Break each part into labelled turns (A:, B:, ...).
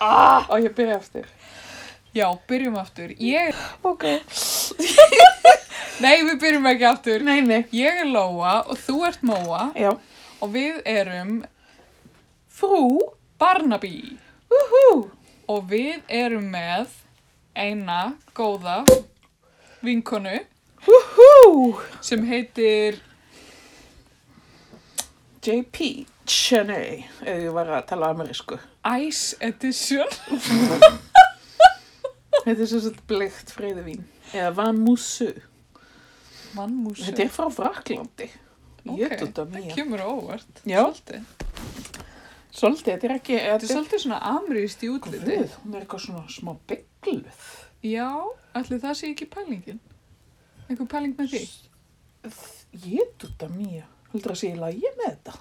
A: Ah,
B: Á ég að byrja eftir.
A: já, byrjum aftur. Ég,
B: Ok.
A: nei, við byrjum ekki aftur.
B: Nei, nei.
A: Ég er Lóa og þú ert Móa
B: Já.
A: og við erum
B: Frú.
A: Barnaby
B: Úhú.
A: og við erum með eina góða vinkonu
B: Úhú.
A: sem heitir
B: JP Cheney, ef ég var að tala amerísku.
A: Ice Edition.
B: Þetta er svo sett bleikt freyðivín. Eða Van Moussu.
A: Mannmúsu.
B: Þetta er frá Fraklandi.
A: Ok,
B: Ég þetta
A: Það
B: mér.
A: kemur á óvart.
B: Já.
A: Svolítið.
B: Svolítið, þetta er ekki...
A: Þetta er svolítið svona amrýst í útliti.
B: Guð, hún er eitthvað svona smá byggluð.
A: Já, allir það sé ekki pælingin. Einhver pæling með því.
B: Ég þetta mér. Haldur að sé í lagi með þetta?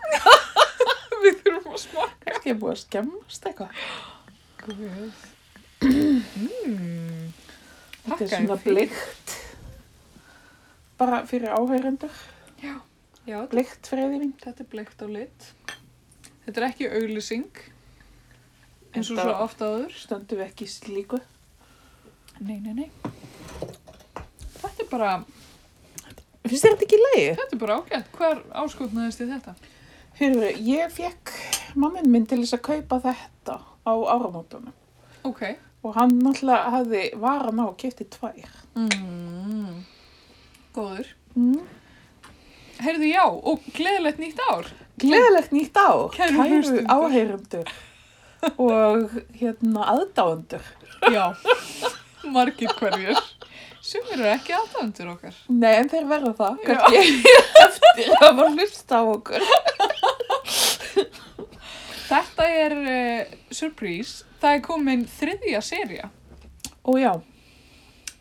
A: Við þurfum að smaka.
B: Kannski er búið að skemmast eitthvað.
A: Mm.
B: Þetta er
A: Þakka
B: svona
A: þér fyrir.
B: bleikt. Bara fyrir áhærendur.
A: Já,
B: Bleikt freyðivín.
A: þetta er bleikt á lit. Þetta er ekki auglýsing, eins og
B: Þetta-
A: svo ofta áður.
B: Stöndum við ekki í slíku.
A: Nei, nei, nei. Þetta er bara,
B: Finnst þér þetta ekki í lagi?
A: þetta er bara ágætt. Hver áskotnaðist þið þetta?
B: Hörru, ég fekk mammin minn til þess að kaupa þetta á áramótunum
A: Ok.
B: og hann náttúrulega hafði varan á og kefti tvær.
A: Mm. Góður.
B: Mm.
A: Heyrðu já, og gleðilegt nýtt ár.
B: Gleðilegt nýtt ár,
A: Kæru hlustendur.
B: áheyrendur og hérna aðdáendur.
A: Já. Margir hverjir. Sumir eru ekki aðdæmdur okkar.
B: Nei, en þeir verða það,
A: Já.
B: kannski eftir að var hlusta á okkur.
A: Þetta er uh, surprise. Það er komin þriðja seria
B: Og já,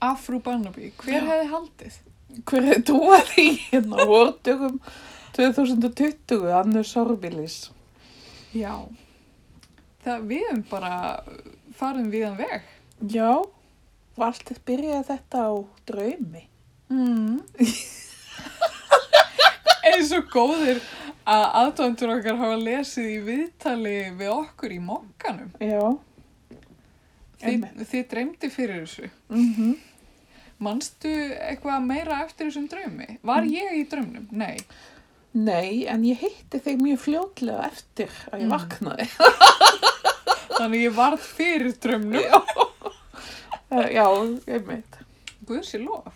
A: af frú Barnaby. Hver
B: Já.
A: hefði haldið?
B: hver er trúað því hérna vortugum 2020, Annu Sorbilis.
A: Já. Það við hefum bara farin viðan veg.
B: Já, og allt byrjaði þetta á draumi.
A: Mm. Eins og góðir að aðdóndur okkar hafa lesið í viðtali við okkur í mokkanum.
B: Já.
A: Þið,
B: Einmitt.
A: þið dreymdi fyrir þessu.
B: Mm
A: Manstu eitthvað meira eftir þessum draumi? Var ég í draumnum? Nei.
B: Nei, en ég hitti þig mjög fljótlega eftir að ég
A: Mm.
B: vaknaði.
A: Þannig ég varð fyrir draumnum.
B: Uh, já, einmitt.
A: Guðs ég lof.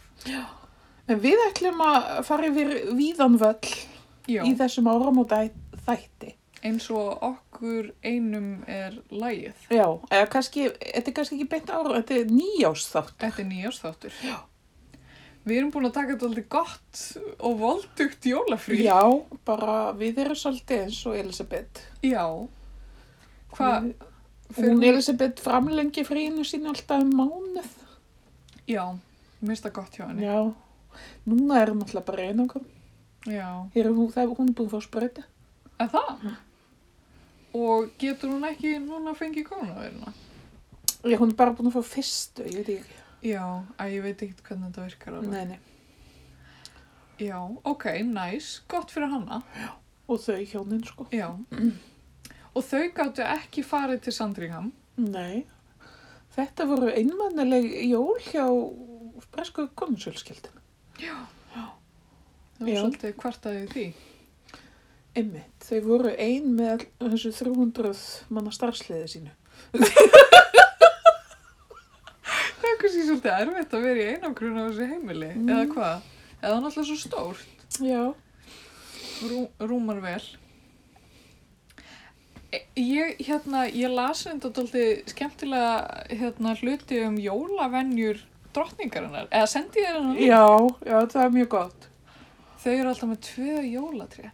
B: En við ætlum að fara yfir víðan völl
A: Já.
B: í þessum áramóta þætti.
A: eins og okkur einum er lægið.
B: Já, eða kannski, þetta er kannski ekki beint ára, þetta er nýjásþátt.
A: Þetta er nýjársþáttur. Já. Við erum búin að taka þetta aldrei gott og voldugt jólafrí.
B: Já, bara við erum svolítið eins og Elisabeth.
A: Já. Hvað?
B: Við- Hún Elisabeth framlengi frínu sín alltaf um mánuð.
A: Já, mista gott hjá henni.
B: Já, núna er hún alltaf bara einangum.
A: Já.
B: Hér er hún, það er hún er búin að fá spröyti.
A: Er það? Og getur hún ekki núna að fengi koronaviruna?
B: Já, hún er bara búin að fá fyrstu, ég veit ekki.
A: Já, að ég veit ekkert hvernig þetta virkar alveg.
B: Nei, nei.
A: Já, ok, næs, nice. gott fyrir hanna.
B: Og þau hjónin, sko.
A: Já. Og þau gáttu ekki farið til Sandringham.
B: Nei, þetta voru einmannaleg jól hjá bresku konusjölskeldinu.
A: Það var
B: Já.
A: svolítið kvartaðið því.
B: Einmitt, þau voru ein með þessu 300 manna starfsliði sínu.
A: Það er kannski svolítið erfitt að vera í einangrun á þessu heimili,
B: Mm.
A: eða hvað? Eða það er náttúrulega svo stórt,
B: Já.
A: rú, rúmar vel. E- Ég, hérna, ég las enda dálítið skemmtilega hérna, hluti um jólavenjur drottningarinnar, eða sendi þér hennar.
B: Já, já, það er mjög gott.
A: Þau eru alltaf með tvö jólatré.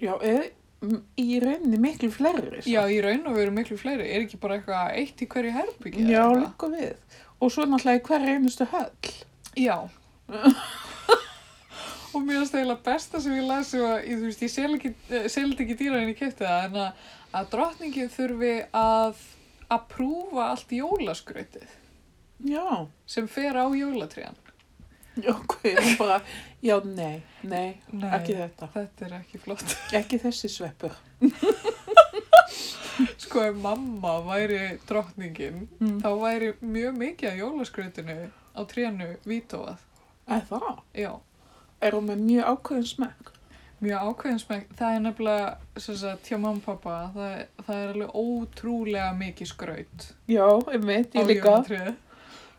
B: Já, eð, m- í rauninni miklu fleiri. sko.
A: Já, í raun og veru miklu fleiri, er ekki bara eitthvað eitt í hverju herbyggja?
B: já líka við. Og svo náttúrulega í hverju einustu höll.
A: Já. og mér finnst það eiginlega besta sem ég lasi var, ég, þú veist, ég sel ekki, eh, seldi ekki dýra en ég kefti það, en að, að drottningin þurfi að að prúfa allt jólaskrautið
B: Já,
A: sem fer á jólatrén.
B: já, hvað er hún bara, já, nei, nei,
A: Nei,
B: ekki þetta.
A: þetta er ekki flott.
B: Ekki þessi sveppur.
A: sko ef mamma væri drottningin
B: Mm.
A: þá væri mjög mikið af jólaskrautinu á trénu vítóað
B: Eða það?
A: já,
B: Er hún með mjög ákveðin smekk?
A: mjög ákveðinsmæk það er nefnilega sem sagt, hjá mamma og pappa það, er- það er alveg ótrúlega mikið skraut
B: Já, einmitt,
A: á
B: ég líka.
A: jólatréð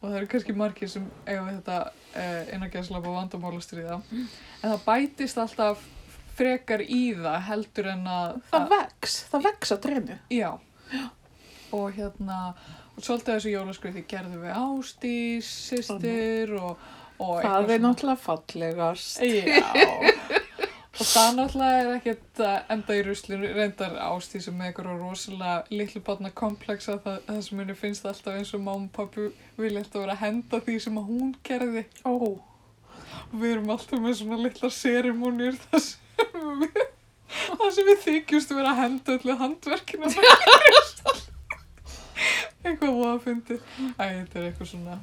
A: og það eru kannski margir sem eiga við þetta uh, innagæðslap og vandamála stríða en það bætist alltaf frekar í það heldur en að
B: Það vex, það vex að treynu.
A: Já. Og hérna, og svolítið þessu jólaskriði gerðum við Ástís, sýstir og, og
B: Það er náttúrulega fallegast.
A: náttúrulega. Já. og það náttúrulega er ekkert að enda í ruslinu, reyndar Ástís sem með einhverju rosalega litlu barna komplexa það, það sem henni finnst alltaf eins og máma og pappi vilja alltaf vera að henda því sem að hún gerði.
B: Ó,
A: Og við erum alltaf með svona litla serimónir þar sem við, þar sem við þykjumst vera að henda öllu handverkinu eitthvað voða að fyndi Æ, þetta er eitthvað svona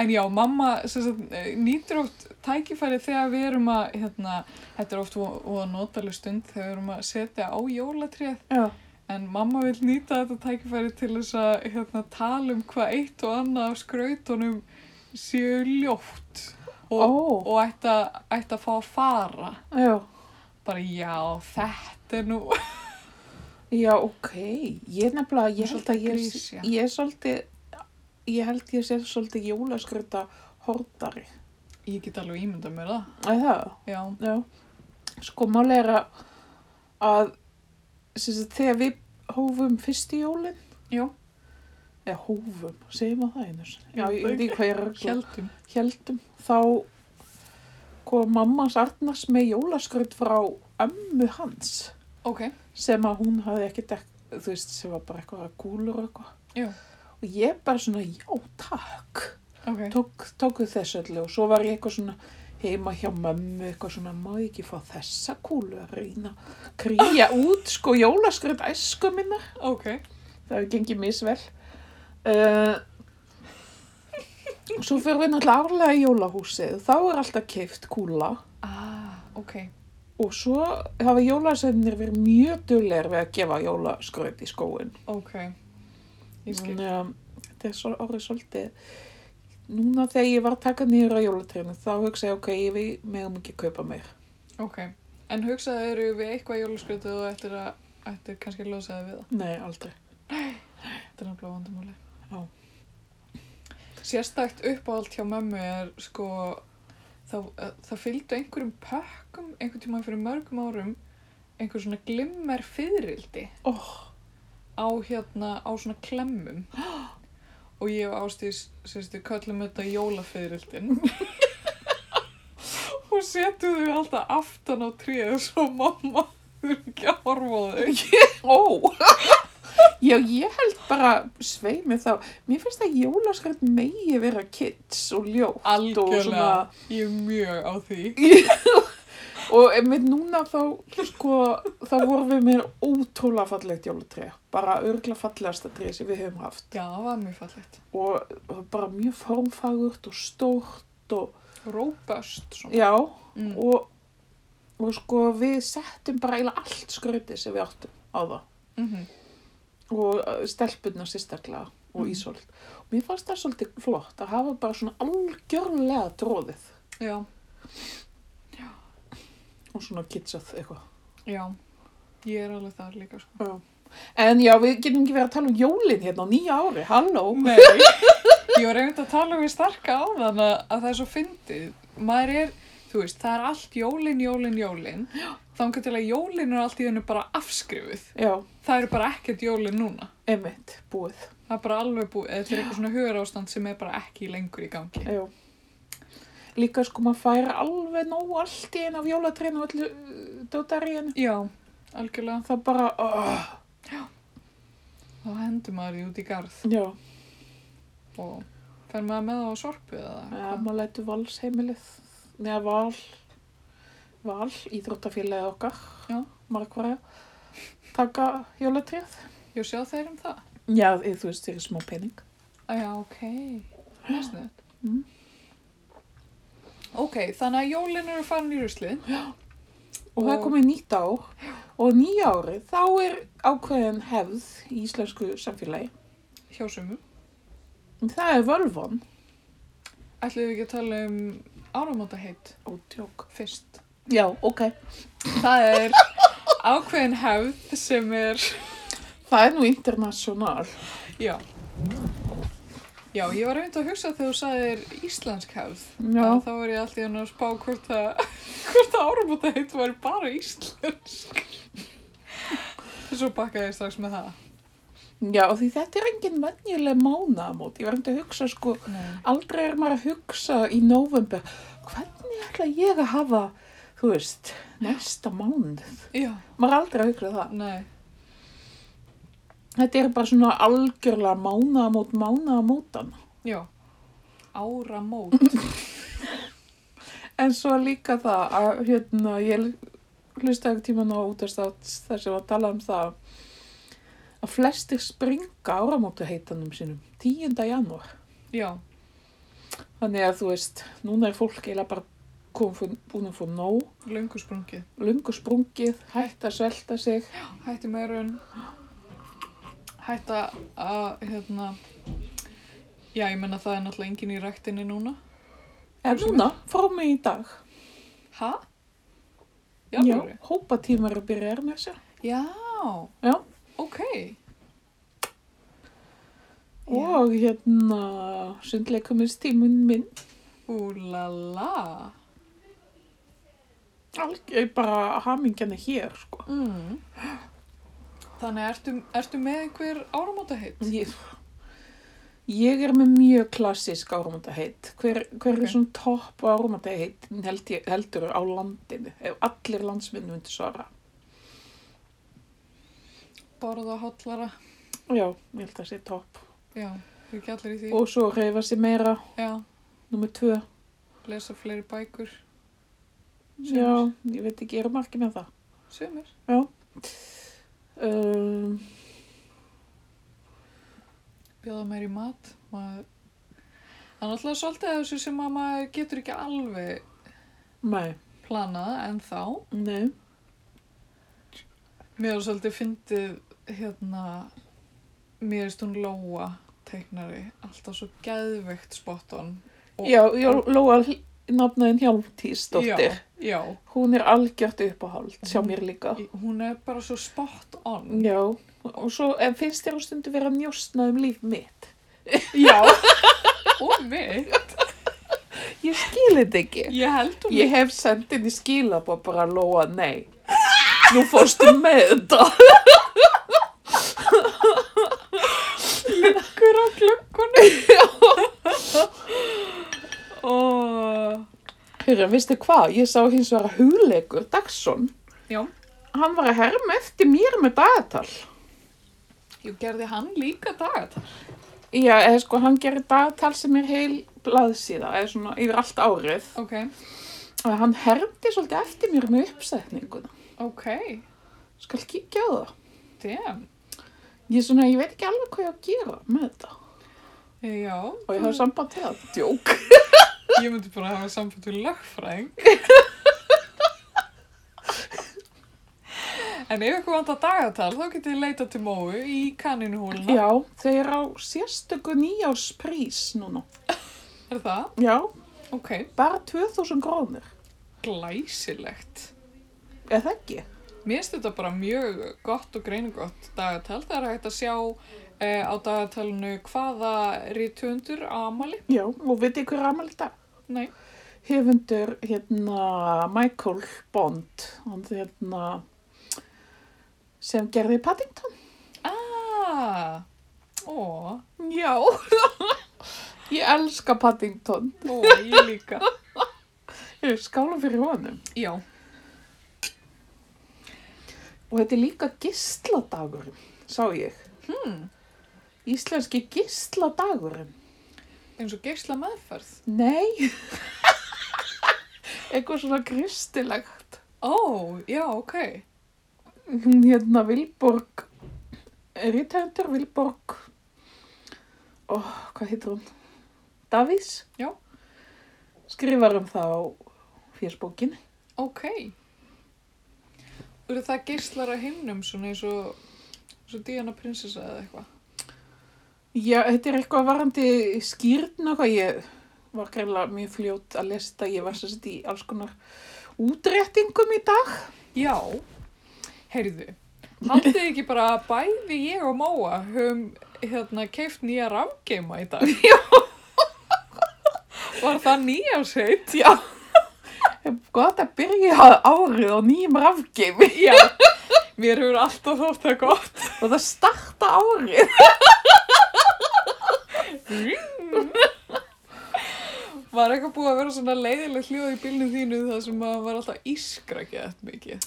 A: en já, mamma sem sagt, eh, nýtir oft tækifæri þegar við erum að hérna, þetta er oft voða notaleg stund þegar við erum að setja á jólatréð
B: já.
A: En mamma vil nýta þetta tækifæri til þess að hérna, tala um hvað eitt og annað af skrautunum séu ljótt og,
B: Ó.
A: og ætti að, ætti að fá að fara.
B: Já,
A: Bara já, þetta er nú...
B: já, ok. Ég nefnilega, ég held að ég,
A: Svolítið grís, já.
B: ég er svolítið, ég held ég sé svolítið jólaskröta hordari.
A: Ég get alveg ímyndað mér það.
B: Æ, það?
A: Já,
B: Já. Sko, máli er að, að sem sagt, þegar við hófum fyrst í jólin,
A: já,
B: eða hófum, segjum að það einu sinni. Já,
A: Já,
B: ég veit ekki hvað ég er að rugla.
A: heldum.
B: heldum þá kom mammas Arnars með jólaskraut frá ömmu hans
A: Ok,
B: sem að hún hafði ekki dekk, þú veist, sem var bara eitthvað gúlur og eitthvað.
A: Já.
B: Og ég bara svona, já, takk.
A: ok.
B: Tók, tóku þess öllu og svo var ég eitthvað svona heima hjá mömmu, eitthvað svona, má ég ekki fá þessa kúlu að reyna að krýja út, sko, jólaskraut æsku minna.
A: Ok,
B: Það hefur gengið misvel. Uh, svo fyrir við náttúrulega árlega í jólahúsið. Þá er alltaf keift kúla
A: ah, ok.
B: og svo hafa jólasveinir verið mjög duglegar við að gefa jólaskraut í skóin.
A: Ok, ég skil.
B: Þannig að þetta er svo, orðið svolítið. Núna þegar ég var að taka nýra á jólatrénu þá hugsa ég, ok, ég við meðum ekki að kaupa meir.
A: Ok, en hugsaðu eru við eitthvað jólaskrötu og ættir að, ættir kannski að losa það við það.
B: Nei, aldrei.
A: Þetta er náttúrulega vandamáli.
B: Já.
A: Sérstakt uppáhald hjá mömmu er sko, það, það fylgdu einhverjum pökkum einhvern tíma fyrir mörgum árum einhver svona glimmer fyririldi
B: Oh,
A: á hérna, á svona klemmum. Og ég og Ástís, sérstu, köllum þetta jólafyririldin. og setjum þau alltaf aftan á tríð svo mamma þurfi ekki að horfa á þau.
B: Ó, já ég held bara sveimi þá, mér finnst að jólaskrætt megi vera kids og ljótt og
A: Algjörlega,
B: svona
A: ég er mjög á því.
B: og einmitt núna þá, sko, þá vorum við með ótrúlega fallegt jólatré, bara örgla fallegasta tré sem við höfum haft
A: Já, það var mjög fallegt.
B: og það var bara mjög formfagurt og stórt og
A: Róböst svona.
B: já
A: Mm.
B: og, og sko við settum bara eiginlega allt skröti sem við áttum á það.
A: Mm
B: og uh, stelpunna sérstaklega og
A: Mhm.
B: Ísolt. Og mér fannst það svolítið flott að hafa bara svona algjörlega dróðið
A: Já,
B: og svona kitsað eitthvað.
A: já. Ég er alveg þar líka sko.
B: En já, við getum ekki verið að tala um jólin hérna á nýja ári, halló.
A: Nei, ég var einmitt að tala um við starka á þann að, að það er svo fyndið. Maður er, þú veist, það er allt jólin, jólin, jólin. Þangar til að jólin er allt í hennu bara afskrifuð.
B: Já,
A: Það er bara ekkert jólin núna.
B: emitt, búið.
A: Það er bara alveg búið, þetta er eitthvað svona hugur sem er bara ekki lengur í gangi.
B: Já. Líka sko maður fær alveg nóg allt í einu af jólatrénu og öllu uh, dótaríinu.
A: Já, algjörlega.
B: Það bara, oh,
A: Þá hendur maður því út í garð
B: já,
A: og fer maður með það á sorpið eða
B: ja, maður lætur valsheimilið, neða val, val, íþróttafélagið okkar,
A: Já.
B: margværa, taka jólatrið.
A: Ég sjá þeir um það.
B: Já, eh, þú veist, fyrir smá pening.
A: Ah, Já, ok. Næsnið.
B: Mm.
A: Ok, þannig að jólin eru farin í ruslið.
B: Og það er
A: Og-
B: komið nýtt ár og Og nýja árið, þá er ákveðin hefð í íslensku samfélagi.
A: hjá sumum.
B: Það er völvan.
A: Ætlum við ekki að tala um áramótaheit
B: Ótjók.
A: fyrst.
B: Já, ok.
A: Það er ákveðin hefð sem er,
B: Það er nú internasjonal.
A: já. Já, ég var reynd að hugsa þegar þú sagðir íslensk hefð.
B: Já.
A: Að Þá var ég alltaf að spá hvort það, hvort það áramótaheit var bara íslensk. Svo bakkaði ég strax með það.
B: Já, því þetta er engin venjuleg mánaðamót. Ég var hægt að hugsa sko,
A: Nei.
B: aldrei er maður að hugsa í november, hvernig ætla ég að hafa, þú veist, næsta mánuð.
A: Já,
B: Maður er aldrei að hugsa það.
A: nei.
B: Þetta er bara svona algjörlega mánaðamót, mánaðamótan.
A: Já. Áramót.
B: En svo líka það að, hérna, ég hlusta ekki tíman á útastátt þar sem var að tala um það að flestir springa áramótu heitanum sínum 10. janúar.
A: Já,
B: Þannig að þú veist, núna er fólk eiginlega bara komið búin að fá nóg,
A: löngu sprungið.
B: lungu sprungið, hætt að svelta sig.
A: Hætti meirun, hætta að, hérna, já, ég menna það er náttúrulega engin í ræktinni núna.
B: En núna, frá mig í dag,
A: Ha? Já, já.
B: hópatímar að byrja er með sér.
A: Já,
B: Já,
A: ok. Já.
B: og hérna, sundleikumistíminn minn,
A: Úlala.
B: algjör bara hamingjana hér, sko.
A: Mm. Þannig ertu, ertu með einhver áramótaheit?
B: Ég, ég er með mjög klassísk áramöndaheit. Hver, hver
A: Ok.
B: er svona topp áramöndaheit held ég- heldur á landinu? Ef allir landsmynd myndu svara.
A: Borða hotlara?
B: Já, ég held að sé topp.
A: Já, við ekki allir í því.
B: Og svo reyfa sér meira,
A: Já,
B: nummer tvö.
A: lesa fleiri bækur.
B: Já, ég veit ekki, ég er margir með það.
A: Sumir.
B: Um,
A: bjóða mér í mat maður Það er náttúrulega svolítið af þessu sem að maður getur ekki alveg
B: nei,
A: planað en þá.
B: nei,
A: Mér er svolítið fyndið hérna, mér erst hún Lóa teiknari, alltaf svo geðveikt spot on. Og-
B: já, já, Lóa nafnaðin Hjálmtísdóttir.
A: Já, já,
B: Hún er algjört uppáhald, sjá mér líka.
A: Í- hún er bara svo spot on.
B: Já, og svo en finnst þér á stundu vera að njóstna um líf mitt.
A: Já, og mig.
B: Ég skil þetta ekki.
A: Ég held hún.
B: Ég hef sendið henni skilabóð bara að lóa nei. Nú fórstu með þetta.
A: liggur á klukkunni. og...
B: Hörru, veistu hvað? Ég sá hins vegar að hugleikur Dagsson.
A: Já,
B: Hann var að herma eftir mér með dagatal.
A: ég gerði hann líka dagat.
B: Já, eða sko, hann gerir dagatal sem er heil blaðsíða, eða svona yfir allt árið.
A: Ok,
B: Og hann hermdi svolítið eftir mér með uppsetninguna.
A: ok,
B: Skal kíkja á það.
A: damn.
B: Ég svona, ég veit ekki alveg hvað ég á að gera með þetta.
A: Já,
B: Og ég hafði
A: Mm.
B: samband til það. Djók.
A: ég myndi bara hafa samband við lögfræðing. en ef ykkur vantar dagatal, þá getið þið leitað til móu í kanninuhóluna.
B: Já, þau eru á sérstöku nýjásprís núna.
A: Er það?
B: Já,
A: Ok,
B: bara 2000 grónir.
A: glæsilegt.
B: Er það ekki?
A: Mér finnst þetta bara mjög gott og greinigott dagatal. Það er hægt að sjá eh, á dagatalinu hvaða rítundur á amali.
B: Já, og veit ég hver amal þetta?
A: Nei,
B: Hefundur, hérna, Michael Bond, hann hérna, sem gerði Paddington.
A: aaa, ah, ó,
B: Já, ég elska Paddington.
A: ó, ég líka.
B: Ég er skála fyrir honum.
A: Já,
B: Og þetta er líka gísladagurinn, sá ég.
A: hmm,
B: Íslenski gísladagurinn.
A: eins og geysla meðferð.
B: Nei. Eitthvað svona kristilegt.
A: Ó, já, ok.
B: hún hérna Vilborg rithæfndur Vilborg oh, hvað heitir hún? Davís?
A: Já.
B: Skrifar um það á fjörsbókin
A: Ok. eru það geislar á himnum svona eins og, eins og Diana prinsessa eða eitthvað?
B: Já, þetta er eitthvað varandi skýrn og eitthvað, ég var greinlega mjög fljót að lesa þetta, ég var sérst í alls konar útréttingum í dag.
A: Já, heyrðu, haldið þið ekki bara að bæði ég og Móa höfum hérna keift nýja rafgeima í dag? Já. Var það nýjársheit?
B: Já, gott að byrja árið á nýjum rafgeimi
A: Já. Mér hefur alltaf þótt það gott.
B: og það starta árið.
A: Var eitthvað búið að vera svona leiðileg hljóð í bílnum þínu þar sem að var alltaf ískra ekki þetta mikið?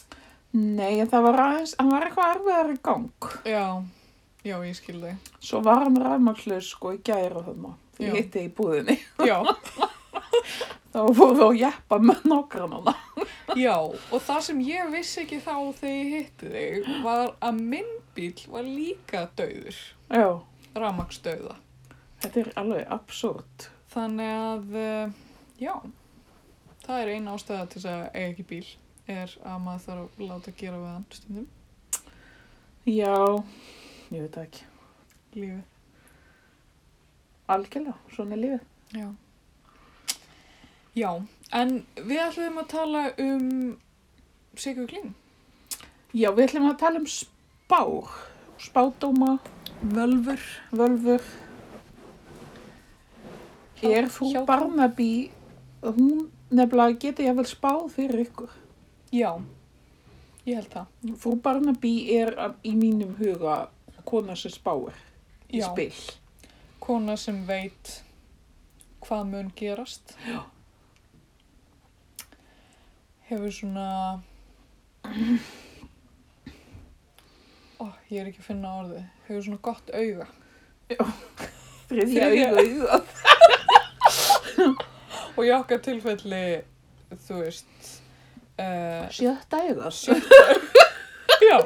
B: Nei, en það var aðeins, hann var eitthvað erfiðar í gang.
A: Já, já, ég skil þig.
B: Svo var hann rafmagnslaus sko í gæri og þarna.
A: Já.
B: Ég hitti í búðinni.
A: Já,
B: Þá voru við að jeppa með nágrannana.
A: já, og það sem ég vissi ekki þá þegar ég hitti þig var að minn bíl var líka dauður,
B: Já,
A: ramagsdauða.
B: þetta er alveg absúrt.
A: Þannig að, eh, já, það er ein ástæða til þess að eiga ekki bíl, er að maður þarf að láta gera við hann stundum
B: Já, ég veit það ekki.
A: í lífið.
B: Algjörlega, svona er lífið.
A: Já. Já, en við ætlum að tala um Sigur Kling.
B: Já, við ætlum að tala um spár, spádóma,
A: Völfur.
B: völfur. Er þú
A: hjá-
B: Barnaby, hún nefnilega getur ég að vel spáð fyrir ykkur.
A: Já, ég held það.
B: Frú Barnaby er að- í mínum huga kona sem spáir í
A: Já,
B: spil.
A: kona sem veit hvað mun gerast. Já. Hefur svona... Ó, ég er ekki að finna orðið. Hefur svona gott auga.
B: Þriðja
A: Þriðja.
B: auðvitað.
A: Og í okkar tilfelli, þú veist... Uh,
B: Sjötta auðvitað.
A: Já.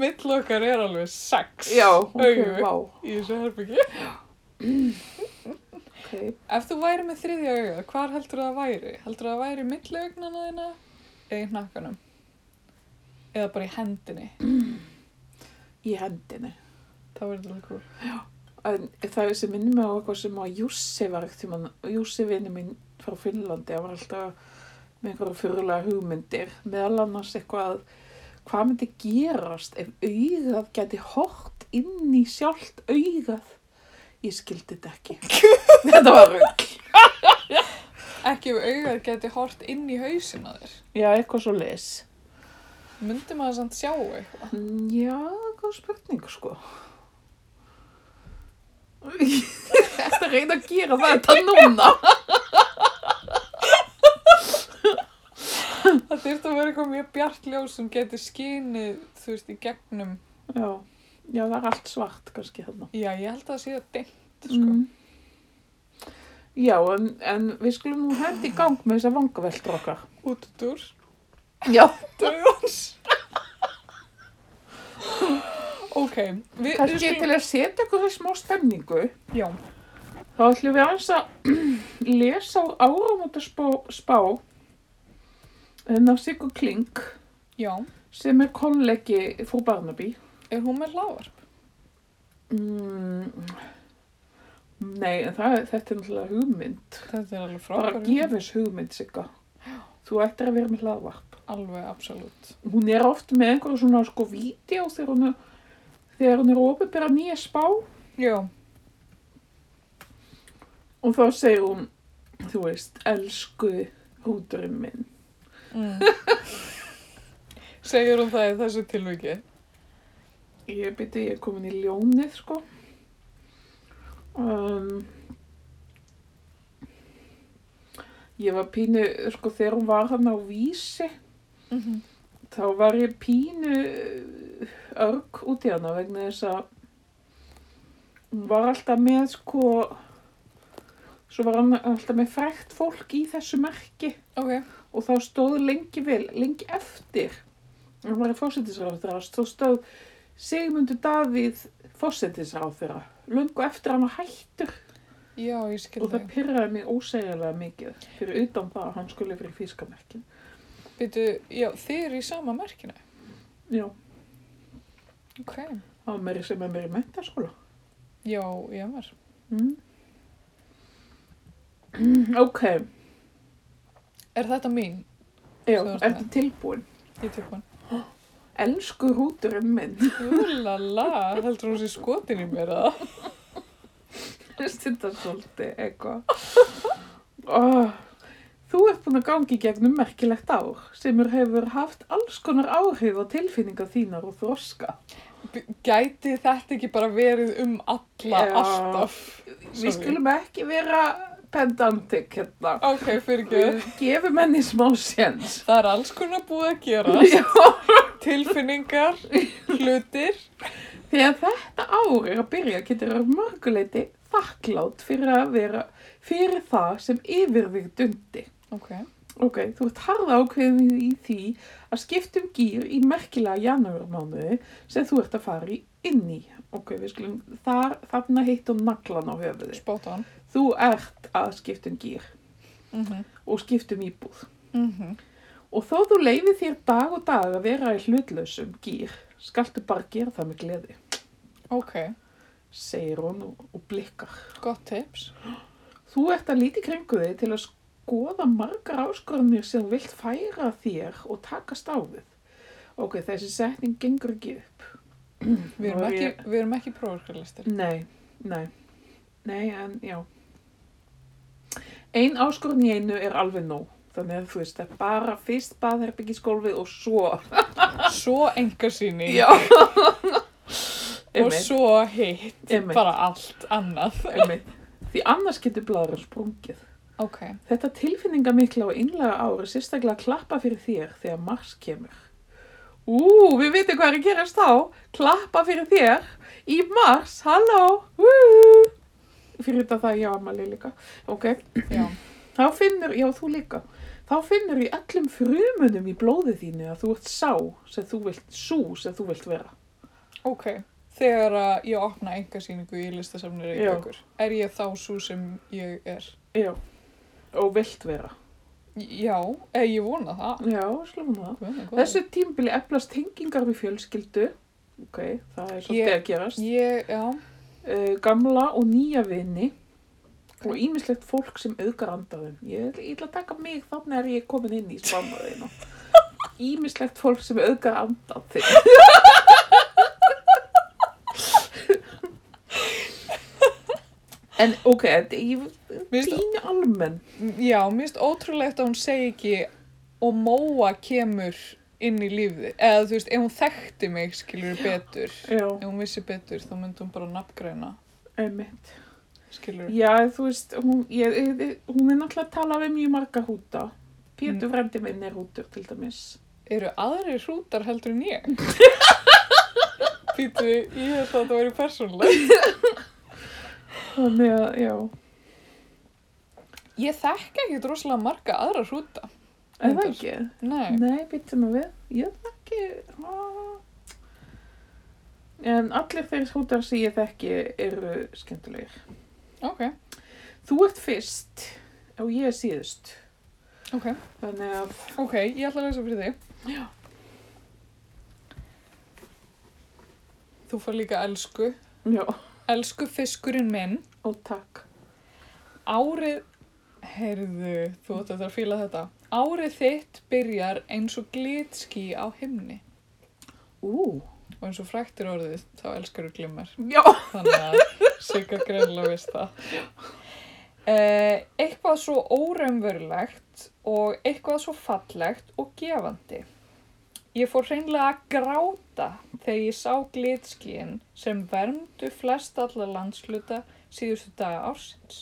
A: Mill okkar er alveg sex
B: Já, ok,
A: augu
B: vá.
A: í þessu herbyggi.
B: Ok,
A: Ef þú væri með þriðja auga, hvar heldur það væri? Heldur það væri milli augnana þína eða í hnakkanum? Eða bara í hendinni?
B: í hendinni.
A: Það verður alveg cool.
B: En það er sem minnum mig á eitthvað sem að Jussi var ekkert tíma, Jussi vinnu mín frá Finnlandi, hann var alltaf með einhverja fyrirlega hugmyndir, meðal annars eitthvað að hvað myndi gerast ef augað geti hort inn í sjálft augað. Ég skildi þetta ekki. þetta var rugg.
A: Ekki ef augað geti hort inn í hausin að þér.
B: Já, eitthvað svo les.
A: Myndi maður samt sjá eitthvað?
B: Já, eitthvað spurning sko. Þetta reyna að gera þetta núna.
A: Það þurft að vera eitthvað mjög bjart ljós sem geti skinið, þú veist, í gegnum.
B: Já, já, það er allt svart kannski þarna.
A: Já, ég held að það sé að dimmt, sko.
B: Mm. Já, en, en við skulum nú hægt í gang með þessa vangaveldur okkar.
A: Út út úr.
B: Já.
A: Dauðans. ok, við...
B: Kannski til að setja ykkur í smá stemningu,
A: Já,
B: þá ætlum við aðeins að lesa á áramóta spá, spá en á Sigur Kling
A: já.
B: sem er konlegi frú Barnaby.
A: Er hún með hlávarp?
B: Mm. Nei, en það, þetta er náttúrulega hugmynd.
A: Þetta er alveg frábær.
B: Bara gefis hugmynd, Sigga. Þú ættir að vera með hlaðvarp.
A: Alveg, absolutt.
B: hún er oft með einhverja svona sko vídeo þegar hún er, þegar hún er ofinbera nýja spá
A: Já,
B: og þá segir hún, þú veist, elsku rúturinn minn.
A: mm. Segir hún það í þessu tilviki?
B: Ég byrja, ég er komin í ljónið sko. Um, ég var pínu, sko þegar hún var hann á vísi,
A: Mm -hmm.
B: þá var ég pínu uh, örg út í hana vegna þess að hún var alltaf með sko svo var hann alltaf með frækt fólk í þessu merki
A: Ok,
B: og þá stóð lengi vel, lengi eftir hann var í fósettisráðherra þá stóð Sigmundur Davíð fósettisráðherra lungu eftir að hann var hættur
A: já, ég skil
B: og það
A: þig.
B: pyrraði mig ósegjulega mikið fyrir utan það að hann skulle fyrir fískamerkin
A: Býtu, já, þið eru í sama merkinu.
B: Já,
A: Ok.
B: það var meiri sem er meiri mentaskóla.
A: Já, ég var.
B: Mm. Ok,
A: Er þetta mín?
B: já,
A: Svo er
B: ertu tilbúin?
A: Ég tek hann.
B: Elsku húturinn minn.
A: Júlala, heldur hún sér skotin í mér eða?
B: finnst þetta svolítið eitthvað. Oh, þú ert búin að gangi gegnum merkilegt ár sem hefur haft alls konar áhrif á tilfinningar þínar og þroska.
A: B- Gæti þetta ekki bara verið um alla,
B: Já.
A: alltaf?
B: Við skulum ekki vera pendantik hérna.
A: Ok, fyrir
B: Við gefum henni smá séns.
A: Það er alls konar búið að gera.
B: Já,
A: Tilfinningar, hlutir.
B: því að þetta ár er að byrja getur að mörguleiti þakklátt fyrir að vera fyrir það sem yfir þig dundi.
A: Ok.
B: Ok, þú ert harða ákveðin í því að skipta um gýr í merkilega janúarmánuði sem þú ert að fara í inn í. Ok, við skulum þar, þarna hitt og naglan á höfuði.
A: Spot on.
B: Þú ert að skipta um gýr
A: Mm -hmm.
B: og skipta um íbúð.
A: Mm
B: Og þó þú leifir þér dag og dag að vera í hlutlausum gýr, skaltu bara gera það með gleði,
A: Ok,
B: segir hún og, og blikkar.
A: gott tips.
B: Þú ert að líti kringu þig til að skoða margar áskorunir sem þú vilt færa þér og takast á við. Ok, þessi setning gengur ekki upp.
A: Við erum
B: Nú er
A: ekki,
B: ég-
A: við erum ekki prófarkalistir.
B: Nei, nei, nei, en já. Ein áskorun í einu er alveg nóg. Þannig að þú veist, það er bara fyrst baðherbyggisgólfið og svo.
A: Svo engasýning og
B: Einmitt,
A: svo hitt,
B: einmitt,
A: bara allt annað.
B: einmitt. Því annars getur blæður sprungið.
A: Ok,
B: Þetta tilfinningamikla og innlega ári sérstaklega klappa fyrir þér þegar mars kemur. Ú, við veitum hvað er að gerast þá. Klappa fyrir þér í mars, halló, hú. Fyrir þetta það ég á amali líka. Ok,
A: já,
B: þá finnur, já þú líka, þá finnur í öllum frumunum í blóðið þínu að þú ert sá sem þú vilt, sú sem þú vilt vera.
A: ok. Þegar að ég opna engasýningu í listasafnir Reykjavíkur, er ég þá svo sem ég er?
B: Já, og vilt vera.
A: Já, eða ég vona það.
B: Já, slúna það.
A: Guð minn góður.
B: Þessu tímbili eflast tengingar við fjölskyldu. Ok, það er svolítið
A: Ég-
B: að gerast.
A: Ég, já,
B: uh, gamla og nýja vini og ímislegt fólk sem auðgar andaðum. Ég ég ætla að taka mig þannig er ég komin inn í spámaðinu. Ímislegt fólk sem auðgar andað þig. En ok, þetta er
A: Mér finnst-
B: pínu almenn.
A: já, mér finnst ótrúlegt að hún segi ekki og móa kemur inn í lífið. Eða þú veist, ef hún þekkti mig skilur betur,
B: Já,
A: ef hún vissi betur, þá myndi hún bara nafngreina,
B: einmitt.
A: skilur.
B: Já, þú veist, hún, ég, ég, hún er náttúrulega að tala við mjög marga húta. Pétur mm. frendi minn er hútur til dæmis.
A: Eru aðrir hrútar heldur en ég? Býtu, ég held að þetta væri persónulegt.
B: Þannig að, já.
A: Ég þekki ekkert rosalega marga aðra hrúta.
B: Er það
A: Reyndar.
B: ekki?
A: Nei.
B: Nei, býttu nú við. Ég þekki... ah. En allir þeir hútar sem ég þekki eru skemmtilegir.
A: Ok,
B: Þú ert fyrst og ég er síðust.
A: ok,
B: Þannig að,
A: ok, ég ætla að lesa fyrir þig. Já. Þú fær líka elsku.
B: já,
A: Elsku fiskurinn minn.
B: og takk.
A: Árið, heyrðu, þú átt eftir að fíla þetta. Árið þitt byrjar eins og glitski á himni.
B: Ú,
A: Og eins og fræktir orðið, þá elskar þú glimmer.
B: já,
A: Þannig að Sigga greinlega veist það. Eh, eitthvað svo óraunverulegt og eitthvað svo fallegt og gefandi. Ég fór hreinlega að gráta þegar ég sá glitskíin sem vermdu flest alla landsluta síðustu daga ársins.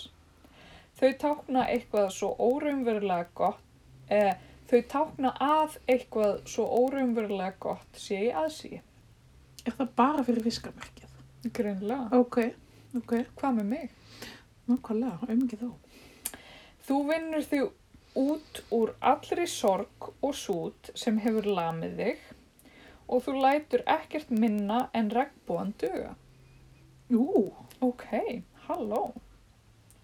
A: Þau tákna eitthvað svo óraunverulega gott, eh, þau tákna að eitthvað svo óraunverulega gott sé í aðsí.
B: er það bara fyrir viskarmerkið?
A: Greinlega.
B: Ok, ok,
A: Hvað með mig?
B: nákvæmlega, auðvitað þó.
A: Þú vinnur þig út úr allri sorg og sút sem hefur lamið þig og þú lætur ekkert minna en regnbúan duga.
B: Ú,
A: Ok, halló.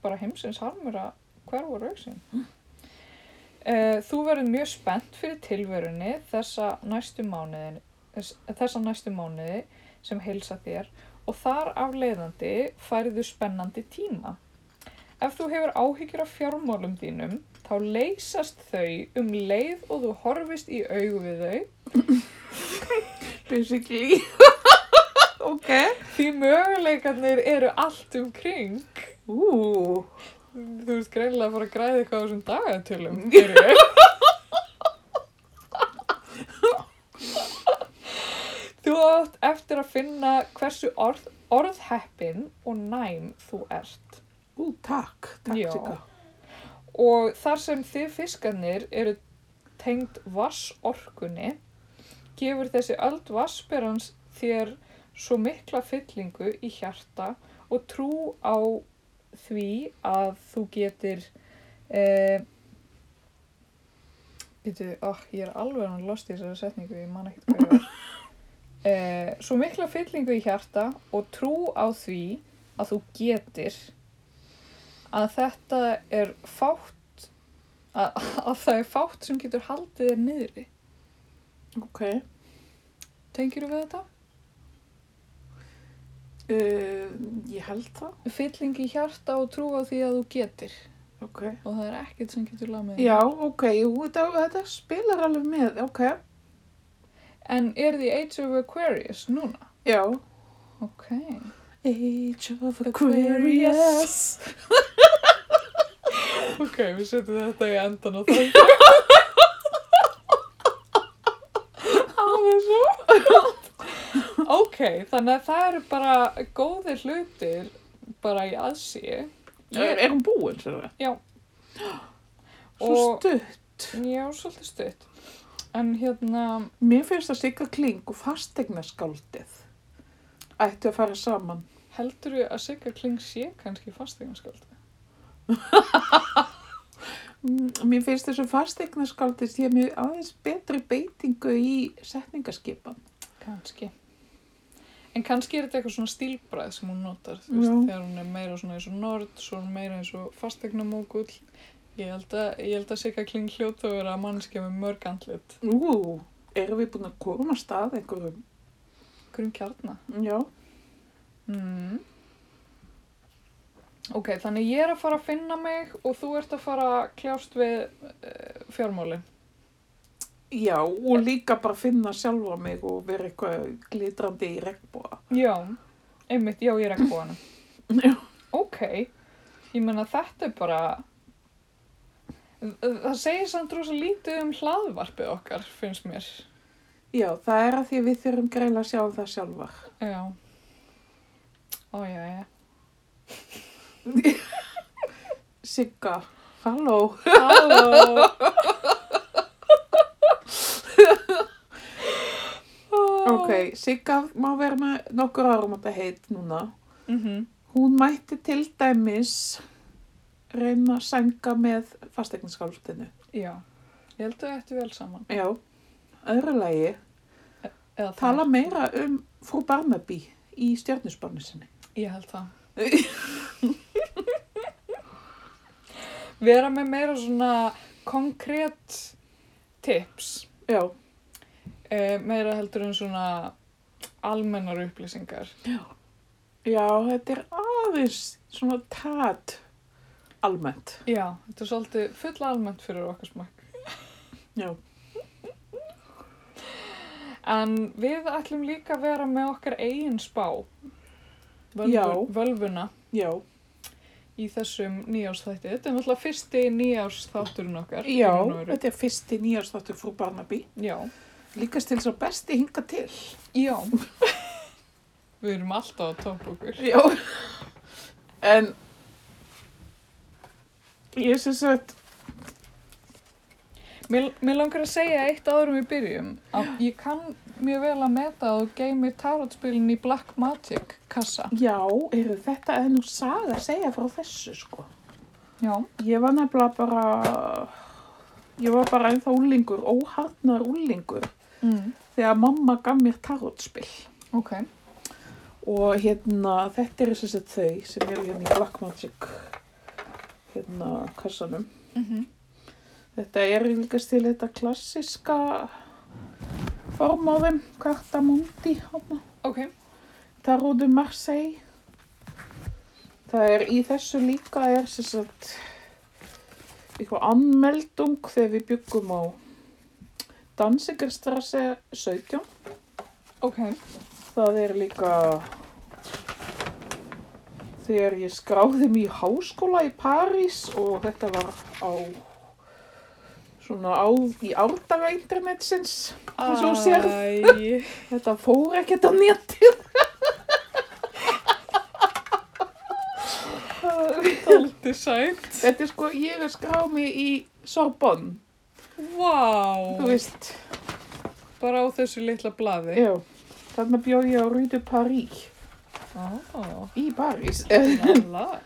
A: Bara heimsins harmur að hverfa rauksinn. Eh, Þú verður mjög spennt fyrir tilverunni þessa næstu mánuðin, þess- þessa næstu mánuði sem heilsa þér og þar af leiðandi færðu spennandi tíma. Ef þú hefur áhyggjur af fjármálum þínum, þá leysast þau um leið og þú horfist í augu við þau
B: Basically. ok.
A: því möguleikarnir eru allt um kring.
B: Ú,
A: Þú ert greinlega að fara að græða eitthvað á þessum dagatölum. Geirröður. þú átt eftir að finna hversu orð, orðheppin og næm þú ert.
B: ú, takk. Takk,
A: Já.
B: Sigga.
A: Og þar sem þið fiskarnir eru tengd vassorkunni, gefur þessi öld vassberans þér svo mikla fyllingu í hjarta og trú á því að þú getir... Eh, Býtu, oh, ég er alveg hann lost í þessari setningu, ég man ekkert hvað ég var. Eh, svo mikla fyllingu í hjarta og trú á því að þú getir að þetta er fátt að, að það er fátt sem getur haldið þér niðri.
B: Ok.
A: Tengir við þetta?
B: Uh, ég held það.
A: Fylling í hjarta og trú á því að þú getir
B: Ok.
A: og það er ekkert sem getur lamið. þig.
B: Já, ok. Jú, þetta, þetta spilar alveg með. Ok.
A: En er því Age of Aquarius núna?
B: Já.
A: Ok.
B: Age of
A: Aquarius.
B: Aquarius.
A: Ok, við setjum þetta í endan og það. Alveg svo. ok, þannig að það eru bara góðir hlutir bara í aðsíu.
B: Er, er hún búin, sér það?
A: Já.
B: Svo
A: Og-
B: stutt.
A: Já, svolítið stutt. En hérna,
B: Mér finnst að Sigga Kling og fasteignarskáldið ættu að fara saman.
A: heldur við að Sigga Kling sé kannski fasteignarskáld?
B: Mm, Mér finnst þessu fasteignarskáldið sé mér aðeins betri beitingu í setningaskipan.
A: Kannski. En kannski er þetta eitthvað svona stílbræð sem hún notar, þú
B: Já.
A: veist, þegar hún er meira svona eins og nord, svo er hún meira eins og fasteignamókull. Ég held að, ég held að Sigga Kling hljóta að vera mannskja með mörg andlit.
B: Ú, erum við búin að koma af stað einhverjum?
A: Hverjum kjarnar?
B: Já.
A: Mm. Ok, þannig ég er að fara að finna mig og þú ert að fara að kljást við uh, fjármálin.
B: Já, og líka bara finna sjálfa mig og vera eitthvað glitrandi í regnbúa.
A: Já, einmitt, já, ég er ekki búin.
B: Já.
A: Ok, ég meina þetta er bara, það segir samt rosa lítið um hlaðvarpið okkar, finnst mér.
B: Já, það er að því að við þurfum greila að sjá um það sjálfar.
A: Já. Ó, já, já.
B: Sigga, halló.
A: Halló!
B: Ok, Sigga má vera með nokkur árum að heit núna.
A: Mm
B: Hún mætti til dæmis reyna að sænga með fasteignarskáldinu.
A: Já, ég held að þetta vel saman.
B: Já, öðru lagi,
A: Eða
B: tala
A: þær.
B: meira um frú Barnaby í stjörnusbánu sinni.
A: Ég held það. Vera með meira svona konkrétt tips.
B: Já,
A: eh, meira heldur en svona almennar upplýsingar.
B: já, þetta er aðeins svona tat almennt.
A: Já, þetta er svolítið fulla almennt fyrir okkar smakk.
B: Já,
A: En við ætlum líka að vera með okkar eigin spá,
B: Já.
A: völvu, völvuna,
B: já,
A: í þessum nýjársþætti. Þetta er náttúrulega fyrsti nýjársþátturinn okkar. í
B: já,
A: raun og veru.
B: þetta er fyrsti nýjastáttur frú Barnaby.
A: Já.
B: Líkast til svo besti hinga til.
A: Já. við erum alltaf að topp okkur.
B: Já, en ég sem sagt
A: Mér, mér langar að segja eitt áður við byrjum að ég kann mjög vel að meta að þú geymir tarotspilin í Black Magic kassa.
B: Já, eru þetta er nú saga að segja frá þessu sko.
A: Já.
B: Ég var nefnilega bara, ég var bara ennþá úlingur, óharnar úlingur
A: Mm.
B: þegar mamma gaf mér tarotspill.
A: Ok.
B: Og hérna, þetta eru sem sagt þau sem eru hérna í Blackmagic, hérna, kassanum.
A: Mm -hmm.
B: Þetta er líkast til þetta klassiska form á þeim, kartamundi, hana.
A: Ok,
B: Tarot de Marseille. Það er í þessu líka er sem sagt eitthvað anmeldung þegar við byggum á Dansingarstrasse 17.
A: ok,
B: Það er líka þegar ég skráði mig í háskóla í París og þetta var á svona á, í árdaga internetsins. Eins og þú sérð.
A: Æ,
B: Þetta fór ekkert á netið.
A: daldi sætt.
B: þetta er sko, ég er skráð mig í Sorbonne,
A: Vá,
B: þú veist.
A: bara á þessu litla blaði.
B: Já, þarna bjóð ég á Rýðu París
A: Á,
B: í París.
A: lala.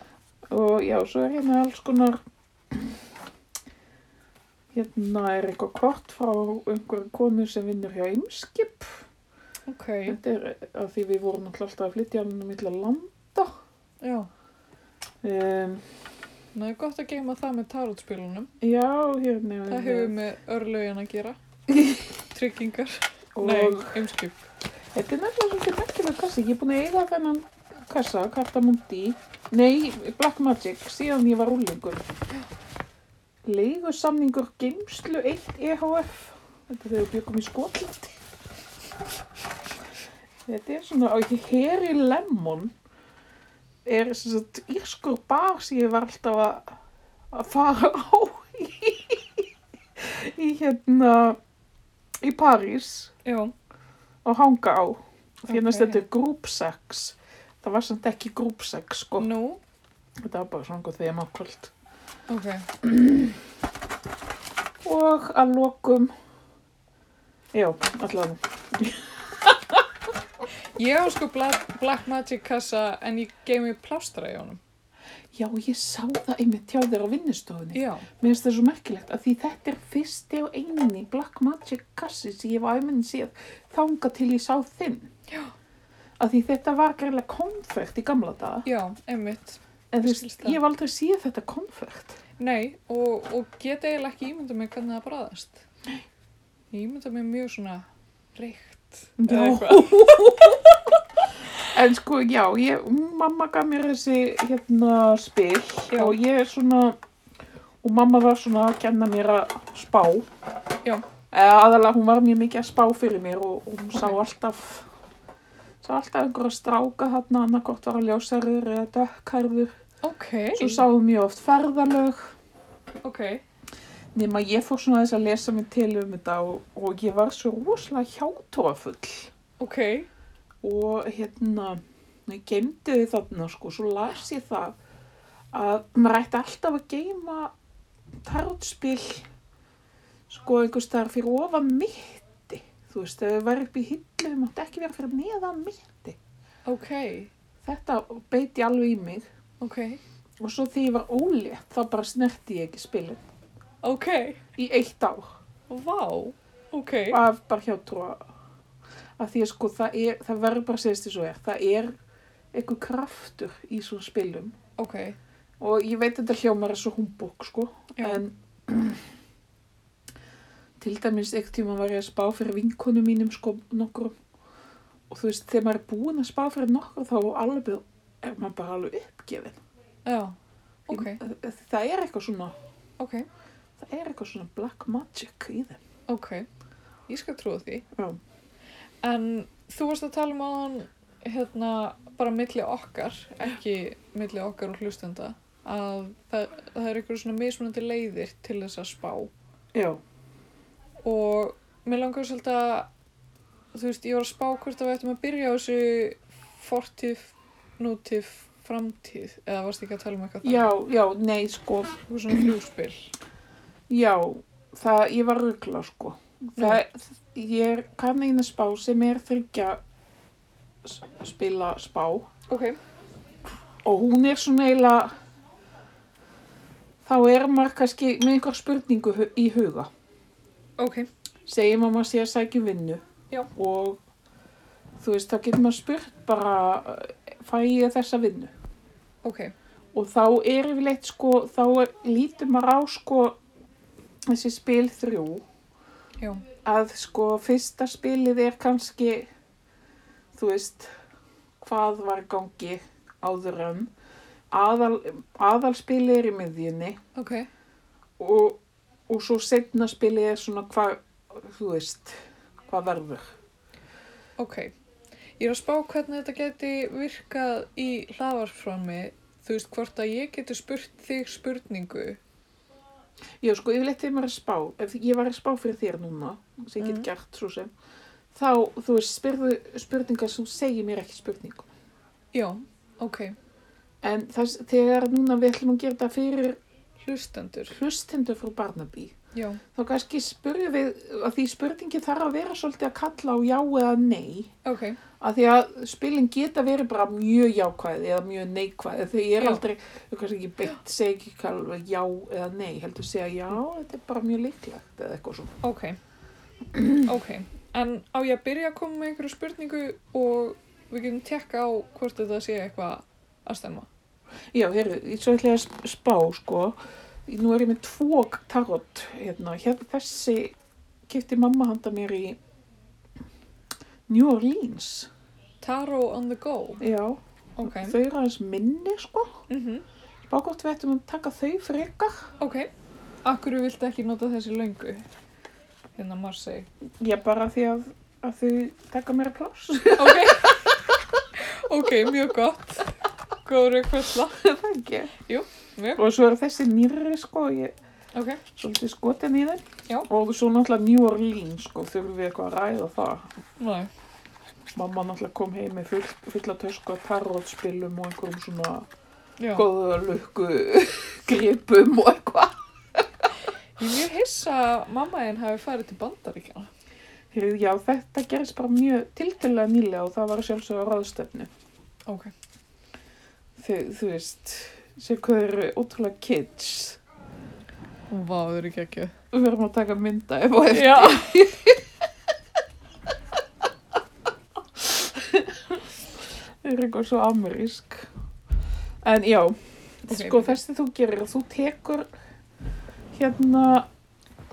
B: Og já, svo er hérna alls konar, hérna er eitthvað kvart frá einhverju konu sem vinnur hjá Eimskip.
A: Ok,
B: Þetta er að því við vorum náttúrulega alltaf að flytja hann um illa landa.
A: já.
B: Um,
A: Ná, það er gott að geima það með tarotspilunum.
B: já, hérna
A: Það hefur með örlögin að gera. Tryggingar.
B: og
A: Nei, umskip.
B: þetta er nefnilega svolítið merkilega kassi. Ég er búin að eiga þennan kassa, Cartamundi, nei, Blackmagic, síðan ég var úlingur. Leigusamningur Geimslu 1 EHF. Þetta er þegar við byggum í Skotlandi. Þetta er svona, og ekki Harry Lemon er sem sagt írskur bar sem ég var alltaf að, að fara á í, í hérna, í París
A: Já,
B: og hanga á. Því hérna
A: Ok.
B: stendur group sex. Það var samt ekki group sex, sko.
A: nú.
B: Þetta var bara svona einhver þeim ákvöld.
A: Ok,
B: Og að lokum, já, allavega.
A: Ég á sko Black, Black Magic kassa en ég geymi plástra í honum.
B: Já, ég sá það einmitt hjá þér á vinnustofunni.
A: Já.
B: Mér finnst það svo merkilegt að því þetta er fyrsti og eini Black Magic kassi sem ég var æminn séð þanga til ég sá þinn.
A: Já.
B: Að því þetta var greiðlega konfekt í gamla daga.
A: Já, einmitt.
B: En þú
A: ég skil
B: veist,
A: það.
B: ég hef aldrei séð þetta konfekt.
A: Nei, og, og get eiginlega ekki ímynda mig hvernig það bræðast. Ég ímynda mig mjög svona reykt. eða
B: Já.
A: eitthvað.
B: En sko, já, ég, mamma gaf mér þessi hérna spil
A: Já.
B: og ég er svona, og mamma var svona að kenna mér að spá.
A: Já.
B: Eða aðalega hún var mjög mikið að spá fyrir mér og, og hún sá
A: Ok.
B: alltaf, sá alltaf einhverja stráka þarna, annarkort var að ljósarður eða dökkarður.
A: Ok.
B: Svo sá hún mjög oft ferðalög.
A: Ok.
B: Nefn að ég fór svona þess að lesa mér til um þetta og, og ég var svo rosalega hjátóafull.
A: Ok.
B: og hérna ég geymdi þið þarna sko svo las ég það að maður ætti alltaf að geyma tarotspil sko einhvers þar fyrir ofan mitti þú veist, ef þau væri upp í hillu þau mátti ekki vera fyrir neðan mitti
A: Ok.
B: þetta beit ég alveg í mig
A: Ok.
B: og svo þegar ég var ólétt þá bara snerti ég ekki spilin
A: Ok.
B: í eitt ár
A: Vá. Ok.
B: af bara hjá trúa að því að sko það er, það verður bara að segja því svo er, það er einhver kraftur í svona spilum
A: Ok.
B: og ég veit þetta hljómar er svo humbúk sko
A: Já.
B: en til dæmis eitt tíma var ég að spá fyrir vinkonu mínum sko nokkur og þú veist þegar maður er búinn að spá fyrir nokkur þá alveg er maður bara alveg uppgefin
A: Já.
B: Því
A: Ok.
B: að- eh, það er eitthvað svona
A: Ok.
B: það er eitthvað svona black magic í þeim
A: Ok. Ég skal trúa því.
B: Já.
A: En þú varst að tala um aðan hérna bara milli okkar, ekki milli okkar og hlustenda, að það, það er ykkur svona mismunandi leiðir til þess að spá.
B: já,
A: Og mér langar svolítið að, þú veist, ég var að spá hvort að við ættum að byrja á þessu fortíð, nútíð, framtíð, eða varst ekki að tala um eitthvað
B: já, já, nei sko
A: það? Eitthvað svona fljúspil.
B: Já, það, ég var ruggla sko. Það, ég er kann eina spá sem er þryggja s- spila spá
A: Ok,
B: og hún er svona eiginlega, þá er maður kannski með einhver spurningu hu- í huga.
A: ok,
B: Segjum að maður sé að sækja um vinnu
A: Já.
B: og þú veist, þá getur maður spurt bara, eh, fæ ég þessa vinnu?
A: ok,
B: og þá er yfirleitt sko, þá er, lítur maður á sko þessi spil þrjú
A: já,
B: að sko fyrsta spilið er kannski þú veist hvað var í gangi áður en aðal, aðalspilið er í miðjunni
A: ok,
B: og, og svo setna spilið er svona hvað þú veist hvað verður
A: ok. Ég er að spá hvernig þetta geti virkað í hlaðvarframi, þú veist hvort að ég geti spurt þig spurningu.
B: Já, sko, yfirleitt þegar maður er að spá, ef ég var að spá fyrir þér núna, sem ég get
A: Mhm.
B: gert svo sem, þá, þú veist, spyrðu spurningar sem þú segir mér ekki spurningu.
A: Já, ok,
B: En þess, þegar núna við ætlum að gera þetta fyrir
A: hlustendur,
B: hlustendur frá Barnaby,
A: já,
B: þá kannski spurðu við, að því spurningi þarf að vera svolítið að kalla á já eða nei,
A: ok,
B: að því að spilin geta verið bara mjög jákvæði eða mjög neikvæði, því ég er
A: Já.
B: aldrei, þú kannski ekki beitt, segi ekki kalveg já eða nei, heldur segja já, þetta er bara mjög líklegt eða eitthvað svona.
A: ok, ok. En á ég að byrja að koma með einhverju spurningu og við getum tekka á hvort þetta sé eitthvað að stemma.
B: Já, heyrðu, ég svo ætla ég að sp- spá, sko. Nú er ég með tvo tarot, hérna. Hérna þessi kipti mamma handa mér í New Orleans.
A: Tarot on the go,
B: Já,
A: ok,
B: þau eru aðeins minni, sko.
A: mhm.
B: Bákvæmt við ættum að taka þau frekar.
A: Ok, akkur viltu ekki nota þessi löngu? Hérna Marseille.
B: Ég bara því að, að þau taka mér að pláss.
A: Ok, ok, mjög gott. Góður rökkværsla.
B: Það er ekki.
A: Jú, mjög.
B: Og svo eru þessi nýrri, sko. Ég
A: Ok,
B: svolítið skotin í þeim.
A: Já.
B: Og svo náttúrulega New Orleans, sko. Þurfum við eitthvað að ræða það.
A: næ,
B: Mamma náttúrulega kom heim með full, fulla tösku að tarotspilum og einhverjum svona
A: já.
B: góða lukku gripum og eitthvað.
A: Ég er mjög hissa að mamma þinn hafi farið til bandaríkjana.
B: Heyrðu, Já, þetta gerist bara mjög tiltölulega nýlega og það var sjálfsög á ráðstefnu.
A: Ok,
B: Þau, þú veist, séu hvað þau eru ótrúlega kids.
A: vá, þau eru geggjöð.
B: Við verðum að taka mynda ef og eftir.
A: Já.
B: Þau eru eitthvað svo amerísk. En já, sko þessi þú gerir, þú tekur hérna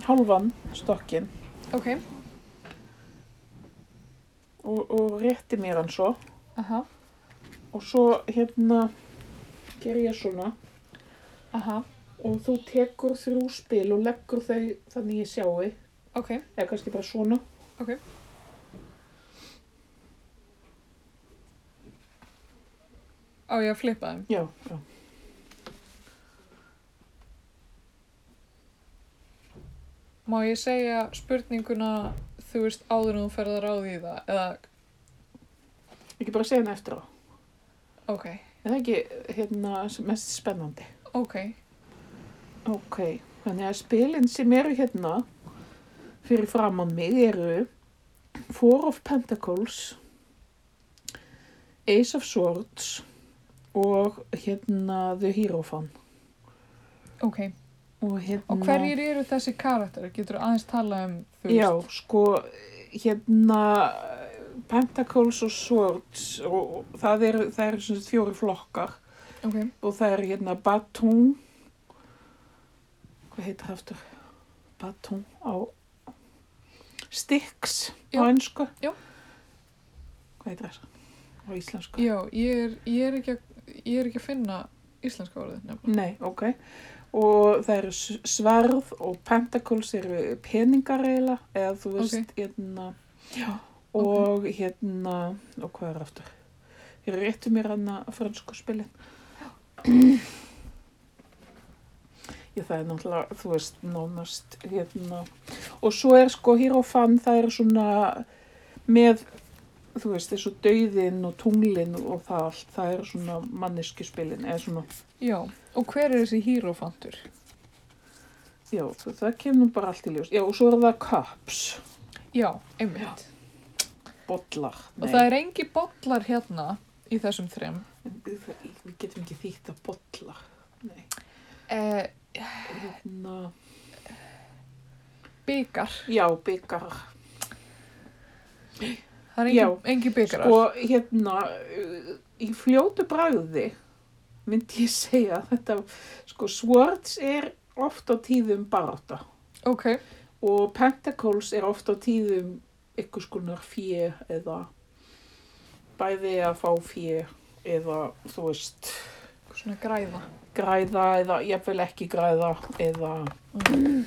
B: hálfan stokkin
A: Ok,
B: og, og rétti mér hann svo.
A: aha,
B: Og svo hérna ger ég svona
A: aha,
B: og þú tekur þrjú spil og leggur þau þannig ég sjái.
A: ok,
B: Eða kannski bara svona.
A: Ok. á ég að flippa þeim.
B: Já, já.
A: Má ég segja spurninguna, þú veist, áður en þú ferð að ráði í það? Eða,
B: Ekki bara segja hann eftir á.
A: ok,
B: Er það ekki hérna sem mest spennandi?
A: ok,
B: Ok. Þannig að spilin sem eru hérna fyrir framann mig eru Four of Pentacles, Ace of Swords og hérna The Hierophant.
A: ok.
B: Og hérna...
A: Og hverjir eru þessi karakterar? Getur aðeins tala um þú
B: Já, sko, hérna Pentacles og Swords og það eru það er svona fjóri flokkar
A: Ok,
B: og það eru hérna Batún hvað heitir það aftur? Batún á Styx á
A: Já,
B: ennsku
A: já.
B: Hvað heitir það? Á íslensku?
A: já, ég er, ég er, ekki, að, ég er ekki að finna íslenska orðið nefnilega.
B: Nei, ok. Og það eru s- sverð og pentacles eru peningar eiginlega, eða þú veist, hérna, já, og hérna, og hvað er aftur? Ég rétti mér hana fransku spilin. Já, það er náttúrulega, þú veist, nánast, hérna, og svo er sko hér á fann, það eru svona með, þú veist, þessu dauðin og tunglin og það allt, það eru svona manneski spilin, eða svona
A: Já, og hver er þessi hírófantur?
B: Já, þa- það kemur bara allt í ljós. Já, og svo er það cups,
A: Já, einmitt.
B: bollar.
A: Og það er engi bollar hérna í þessum þrem.
B: Við getum ekki þýtt að bollar. Nei,
A: Eh,
B: hérna...
A: byggar.
B: Já, byggar.
A: Það er engi,
B: Já.
A: engi byggarar.
B: Og hérna, uh, í fljótu bragði myndi ég segja að þetta, sko, swords er oft á tíðum barátta.
A: ok,
B: og Pentacles er ofta tíðum ykkur skonar fjö eða bæði að fá fjö eða þú veist
A: svona græða.
B: græða eða jafnvel ekki græða eða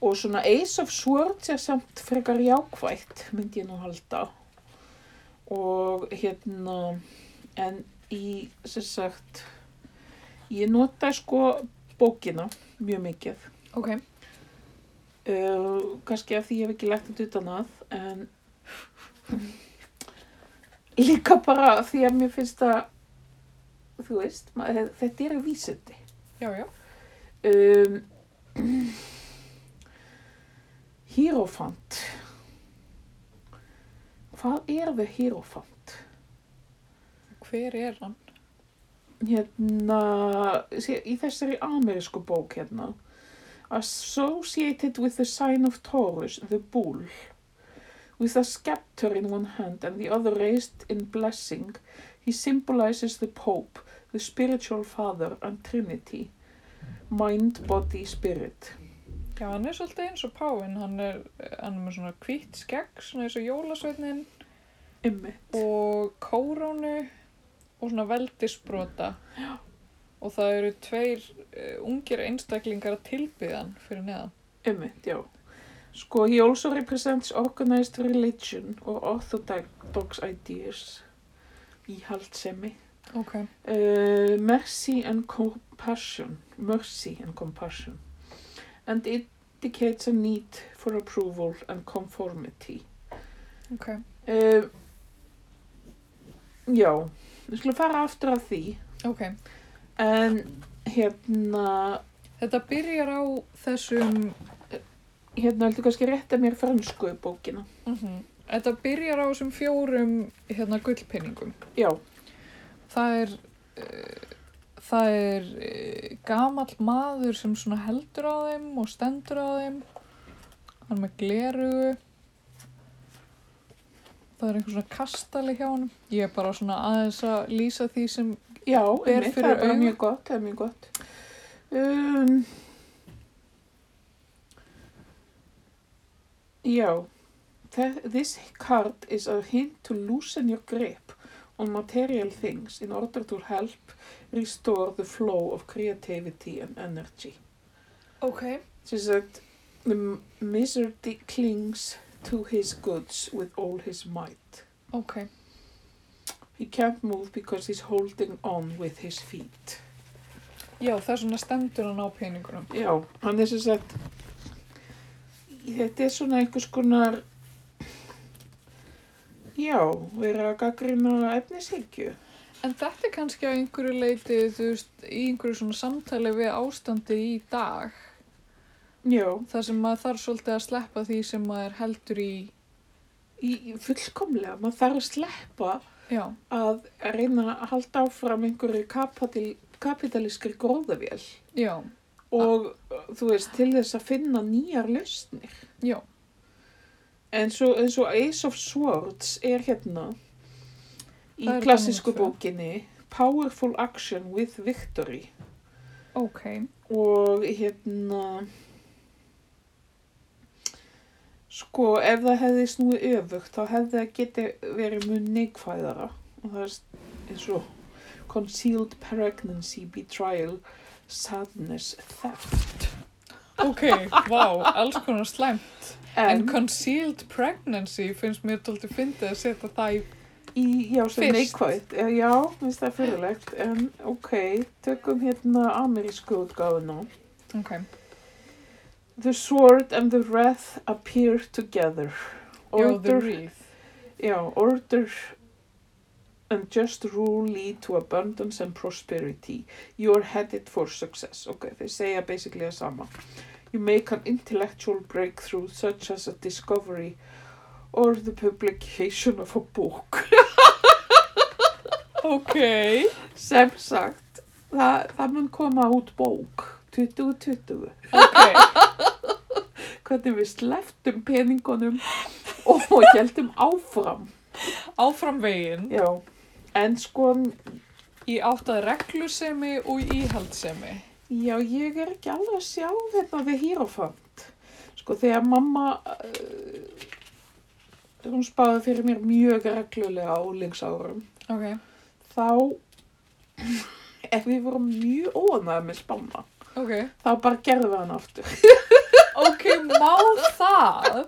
B: og svona Ace of Swords er samt frekar jákvætt myndi ég nú halda og hérna en í sem sagt ég notaði sko bókina mjög mikið
A: Ok,
B: Uh, kannski af því ég hef ekki lægt þetta utan að en líka bara af því að mér finnst að þú veist, maður, þetta eru vísindi
A: já, já.
B: um, Hírofant hvað er við Hírofant?
A: Hver er hann?
B: hérna sé- í þessari amerísku bók hérna Associated with the sign of Taurus, the bull with a scepter in one hand and the other raised in blessing he symbolizes the pope the spiritual father and trinity mind, body, spirit
A: Já, hann er svolítið eins og páfinn, hann er, eh, hann er með svona hvítt skegg, svona eins og jólasveitnin
B: Einmitt.
A: og kórónu og svona veldisbrota. Já. Og það eru tveir uh, ungir einstaklingar að tilbyða hann fyrir neðan.
B: Einmitt, já. Sko, he also represents organized religion or orthodox ideas íhaldsemi
A: Ok.
B: uh, mercy and compassion mercy and compassion and it indicates a need for approval and conformity
A: Ok.
B: uh, já við skulum fara aftur að því
A: Ok.
B: en hérna
A: Þetta byrjar á þessum,
B: hérna heldur kannski rétta mér fransku bókina
A: mhm, þetta byrjar á þessum fjórum hérna gullpinningum.
B: já,
A: Það er, uh, það er uh, gamall maður sem svona heldur á þeim og stendur á þeim. Hann er með glerugu. Það er einhver svona kastali hjá hann. Ég er bara svona aðeins að lýsa því sem...
B: já
A: Ber
B: einmitt,
A: fyrir
B: það er bara
A: augu.
B: mjög gott það er mjög gott um, Já, Þe- this card is a hint to loosen your grip on material things in order to help restore the flow of creativity and energy.
A: Ok.
B: She said, the m- wizard clings to his goods with all his might.
A: Ok.
B: He can't move because he's holding on with his feet.
A: Já, það er svona stendur hann á peningunum.
B: Já, hann er sem sagt þetta er svona einhvers konar já, vera að gaggrina efnishyggju.
A: En þetta er kannski á einhverju leiti, þú veist, í einhverju svona samtali við ástandi í dag.
B: Já,
A: Þar sem maður þarf svolítið að sleppa því sem maður heldur í...
B: í, í- fullkomlega, maður þarf að sleppa
A: Já.
B: að reyna að halda áfram einhverju kapatil, kapitalískri gróðavél
A: Já.
B: og þú veist, til þess að finna nýjar lausnir.
A: Já.
B: En svo, en svo Ace of Swords er hérna í
A: Það er
B: klassísku
A: gaman,
B: bókinni Powerful Action with Victory
A: Ok.
B: og hérna sko ef það hefði snúið öfugt þá hefði það geti verið mun neikvæðara og það er s- eins og Concealed Pregnancy, Betrayal, Sadness, Theft
A: Ok, vá, alls konar slæmt. En concealed pregnancy finnst mér tóltið fyndið að setja það í...
B: Í, já, sem
A: Fyrst.
B: neikvætt. Eh, Já, minnst það er fyrirlegt. En ok, tökum hérna amerísku útgáfuna.
A: Ok,
B: The sword and the wrath appear together.
A: you're the
B: Order,
A: wreath.
B: já, order and just rule lead to abundance and prosperity. You are headed for success. Ok, þeir segja basically það sama. You make an intellectual breakthrough such as a discovery or the publication of a book.
A: Ok,
B: sem sagt það, það mun koma út bók 2020
A: ok,
B: hvernig við sleftum peningunum og heldum áfram
A: áfram veginn
B: já en sko
A: í áttað reglusemi og íhaldsemi.
B: Já, ég er ekki alveg að sjá þetta við Hírofant. Sko, þegar mamma, uh, hún spáði fyrir mér mjög reglulega á úlingsárum,
A: Ok.
B: þá, ef við vorum mjög óanæðið með spána,
A: Ok.
B: þá bara gerðum við hann aftur.
A: Ok, má það?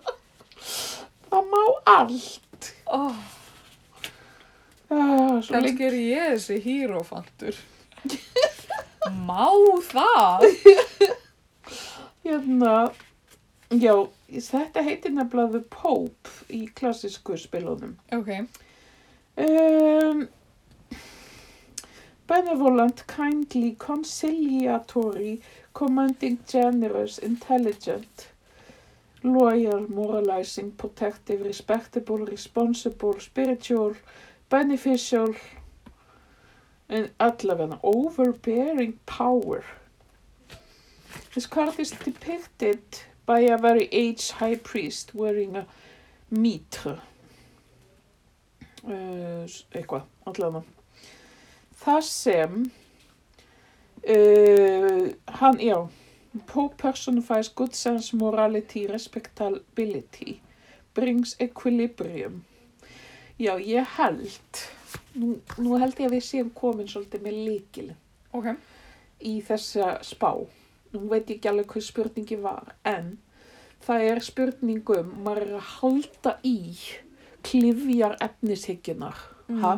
B: Það má allt.
A: Oh,
B: Ah, svo lengi.
A: kannski er ég þessi hírófantur. Má það?
B: Hérna, já, þetta heitir nefnilega The Pope í klassísku spilunum.
A: Ok.
B: Um, benevolent, kindly, conciliatory, commanding, generous, intelligent, loyal, moralizing, protective, respectable, responsible, spiritual, beneficial, en allavega overbearing power. This card is depicted by a very aged high priest wearing a mitre. uh, eitthvað, allavega þar sem uh, hann, já Pope personifies good sense, morality, respectability brings equilibrium já, ég held nú, nú held ég að við séum komin svolítið með líkil
A: Ok.
B: í þessa spá nú veit ég ekki alveg hvað spurningi var en það er spurningum maður er að halda í klifjar efnishyggjunnar
A: Mhm.
B: ha?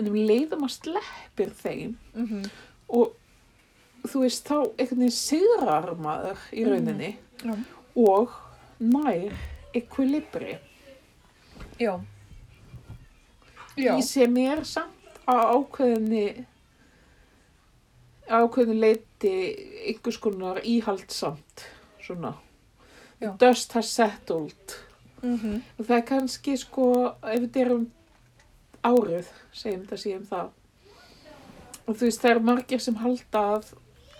B: en um leiðum að sleppir þeim
A: Mm
B: og þú veist þá einhvern veginn sigrar maður í rauninni
A: Já.
B: og nær ekvilibri
A: Já. Já.
B: í sem er samt á ákveðinni ákveðinu leiti einhvers konar íhaldsamt svona
A: Já.
B: dust has settled
A: Mm
B: og það er kannski sko ef þetta er um árið segjum það segjum það og þú veist það eru margir sem halda að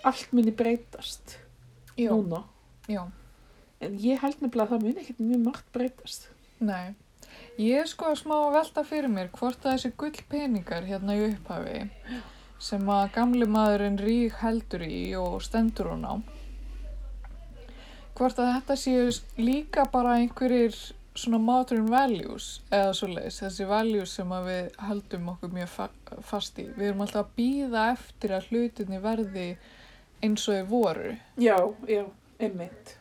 B: allt muni breytast
A: Já.
B: núna
A: Já.
B: en ég held nefnilega að það muni ekkert mjög margt breytast
A: Nei. Ég er sko smá að velta fyrir mér hvort að þessi gullpeningar hérna í upphafi sem að gamli maðurinn rík heldur í og stendur hún á hvort að þetta séu líka bara einhverjir svona modern values eða svoleiðis, þessi values sem að við höldum okkur mjög fa fast í við erum alltaf að býða eftir að hlutinni verði eins og þau voru
B: já, já, emmitt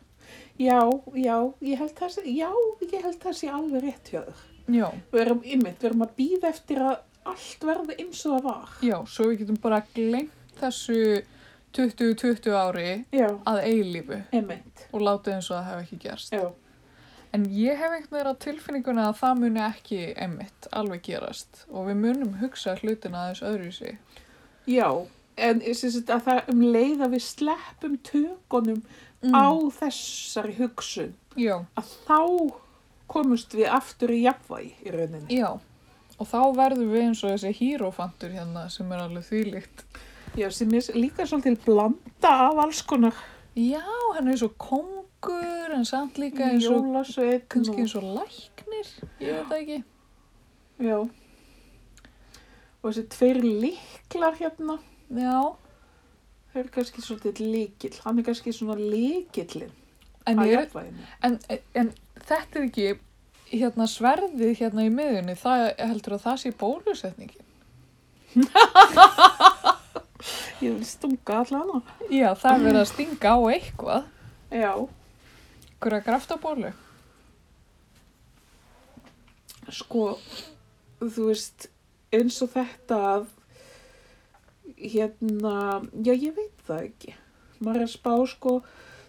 B: já, já, ég held það sé já, ég held það sé alveg rétt hjá þér
A: Já,
B: við erum emmitt, við erum að býða eftir að allt verði eins og það var
A: já, svo við getum bara glemt þessu 20-20 ári
B: já,
A: að eilífu
B: emmitt
A: og látið eins og það hef ekki gerst.
B: já,
A: En ég hef einhvern veginn á tilfinninguna að það muni ekki emitt alveg gerast og við munum hugsa hlutina aðeins öðruvísi.
B: já en sem sagt, að það um leið að við sleppum tökunum á þessari hugsun
A: Mm, Já,
B: að þá komumst við aftur í jafnvægi í rauninni.
A: já. Og þá verðum við eins og þessi hírófantur hérna sem er alveg þvílíkt.
B: Já, sem er líka svolítil blanda af alls konar
A: Já, hann er eins og kongur en samt líka eins og
B: jólasveit.
A: kannski eins og læknir, ég veit það ekki.
B: Já. Og þessi tveir líklar hérna,
A: Já,
B: þau eru kannski svolítið líkil. Hann er kannski svona líkillin
A: en
B: að
A: ég,
B: jafnvæginu.
A: En, en þetta er ekki, hérna sverðið hérna í miðunni, það heldur að það sé bólusetningin.
B: Ég vil stunga allan á.
A: Já, það er verið að stinga á eitthvað,
B: Já.
A: hverja graftabólu.
B: sko, þú veist, eins og þetta að, hérna, já, ég veit það ekki. Maður er að spá, sko,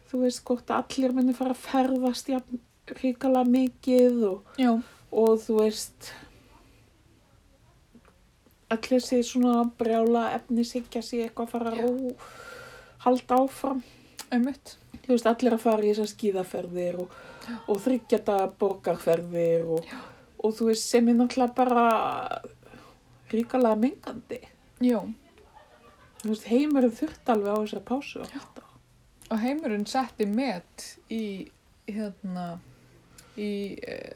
B: þú veist, hvort allir minni fara að ferðast jafn ríkala mikið og,
A: Já.
B: og þú veist, allir sé svona brjála efni sigja sé eitthvað að fara að rú, halda áfram
A: Einmitt.
B: þú veist, allir að fara í þessar skíðaferðir og, og þryggjata borgarferðir og, og þú veist, sem er náttúrulega bara ríkalega mengandi.
A: Já,
B: Þú veist, heimurinn þurft alveg á þessari pásu. Já.
A: og heimurinn setti met í, hérna, í, eh,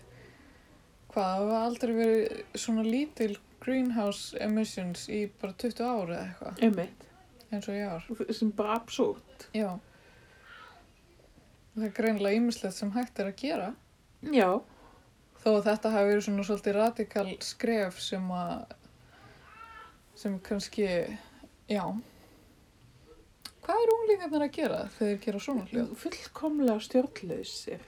A: hvað, það var aldrei verið svona lítil greenhouse emissions í bara 20 ára eða eitthvað.
B: Einmitt.
A: eins og ég var.
B: sem bara absúrt.
A: Já. Það er greinilega ýmislegt sem hægt er að gera.
B: Já,
A: Þó að þetta hafi verið svona svolítið radikal skref sem að, sem kannski, já. Hvað eru unglingarnir að gera þegar þeir gera svona hljóð?
B: fullkomlega stjórnlausir.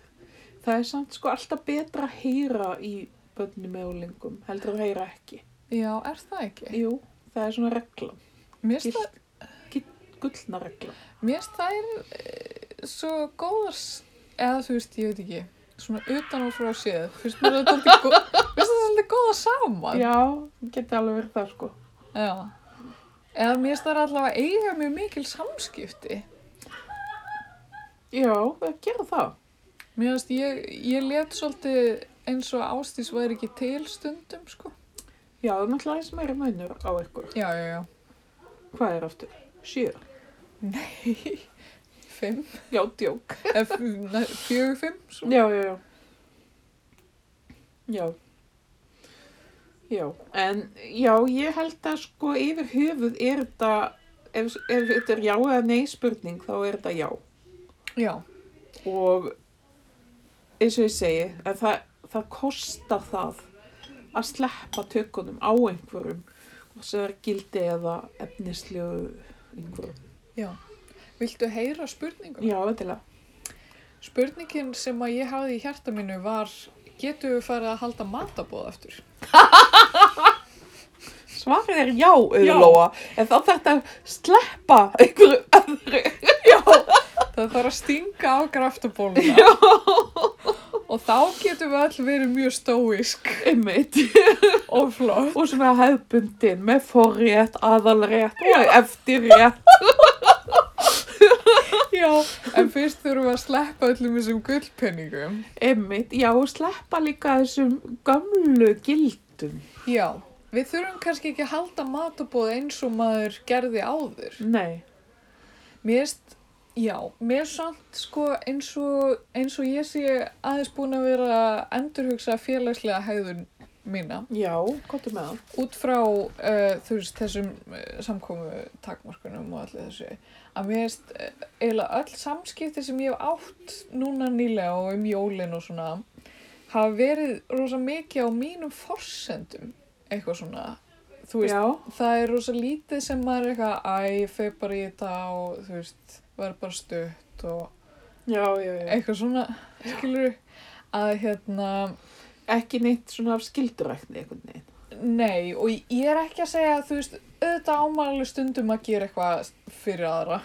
B: Það er samt sko alltaf betra að heyra í börnum með úlingum, heldur að heyra ekki.
A: Já, er það ekki?
B: Jú, það er svona regla,
A: Mér Eh. finnst það,
B: gullna regla.
A: mér finnst það er eh, svo góðars, eða þú veist, ég veit ekki, svona utan og frá séð. Fyrst mér þetta alltaf góð, fyrst það alltaf góða saman.
B: Já, geti alveg verið það sko.
A: Já. Eða mér finnst það allavega eiga mjög mikil samskipti.
B: Já, að gera það.
A: Mér finnst, ég, ég let svolítið eins og ástís væri ekki til stundum, sko.
B: Já, það er náttúrulega aðeins meira munur á ykkur.
A: Já, já, já.
B: Hvað er aftur? Sjö.
A: Fimm,
B: Já, djók.
A: eða f- nei, fjögur, fimm, svo.
B: Já, já, já. Já. Já, en já, ég held að sko yfir höfuð er þetta, ef, ef þetta er já eða nei spurning, þá er þetta já.
A: Já,
B: Og eins og ég segi, að það, það kostar það að sleppa tökunum á einhverjum, og sem er gildi eða efnislegu einhverjum.
A: já. Viltu heyra spurningum?
B: Já, veitilega.
A: Spurningin sem að ég hafði í hjarta mínu var getum við farið að halda matabóð aftur?
B: Svarið er já,
A: Já.
B: auðlóa, en þá þetta sleppa einhverju öðru.
A: Það þarf að stinga á graftabóluna og þá getum við all verið mjög stóisk
B: Einmitt.
A: og flott.
B: Og svona hefbundin með forrétt, aðalrétt og eftirrétt.
A: Já, en fyrst þurfum við að sleppa öllum þessum gullpenningum.
B: Einmitt, já, og sleppa líka þessum gömlu gildum.
A: Já, við þurfum kannski ekki að halda matabóð eins og maður gerði áður.
B: Nei.
A: Mér erst, já, mér er samt sko eins og, eins og ég sé aðeins búin að vera að endurhugsa félagslega hegðun mína
B: Já, gott með það.
A: út frá uh, þú veist þessum uh, samkomu takmarkunum og allir þessu að mér erst uh, eiginlega öll samskipti sem ég hef átt núna nýlega og um jólin og svona hafa verið rosa mikið á mínum forsendum eitthvað svona þú veist
B: Já,
A: það er rosa lítið sem maður er eitthvað æ, ég feg bara í þetta og þú veist, verð bara stutt og
B: já, já, já.
A: eitthvað svona, skilur að hérna,
B: E- Ekki neitt svona af skildurækni einhvern veginn.
A: nei og ég er ekki að segja að þú veist, auðvitað ámæli stundum að gera eitthvað fyrir aðra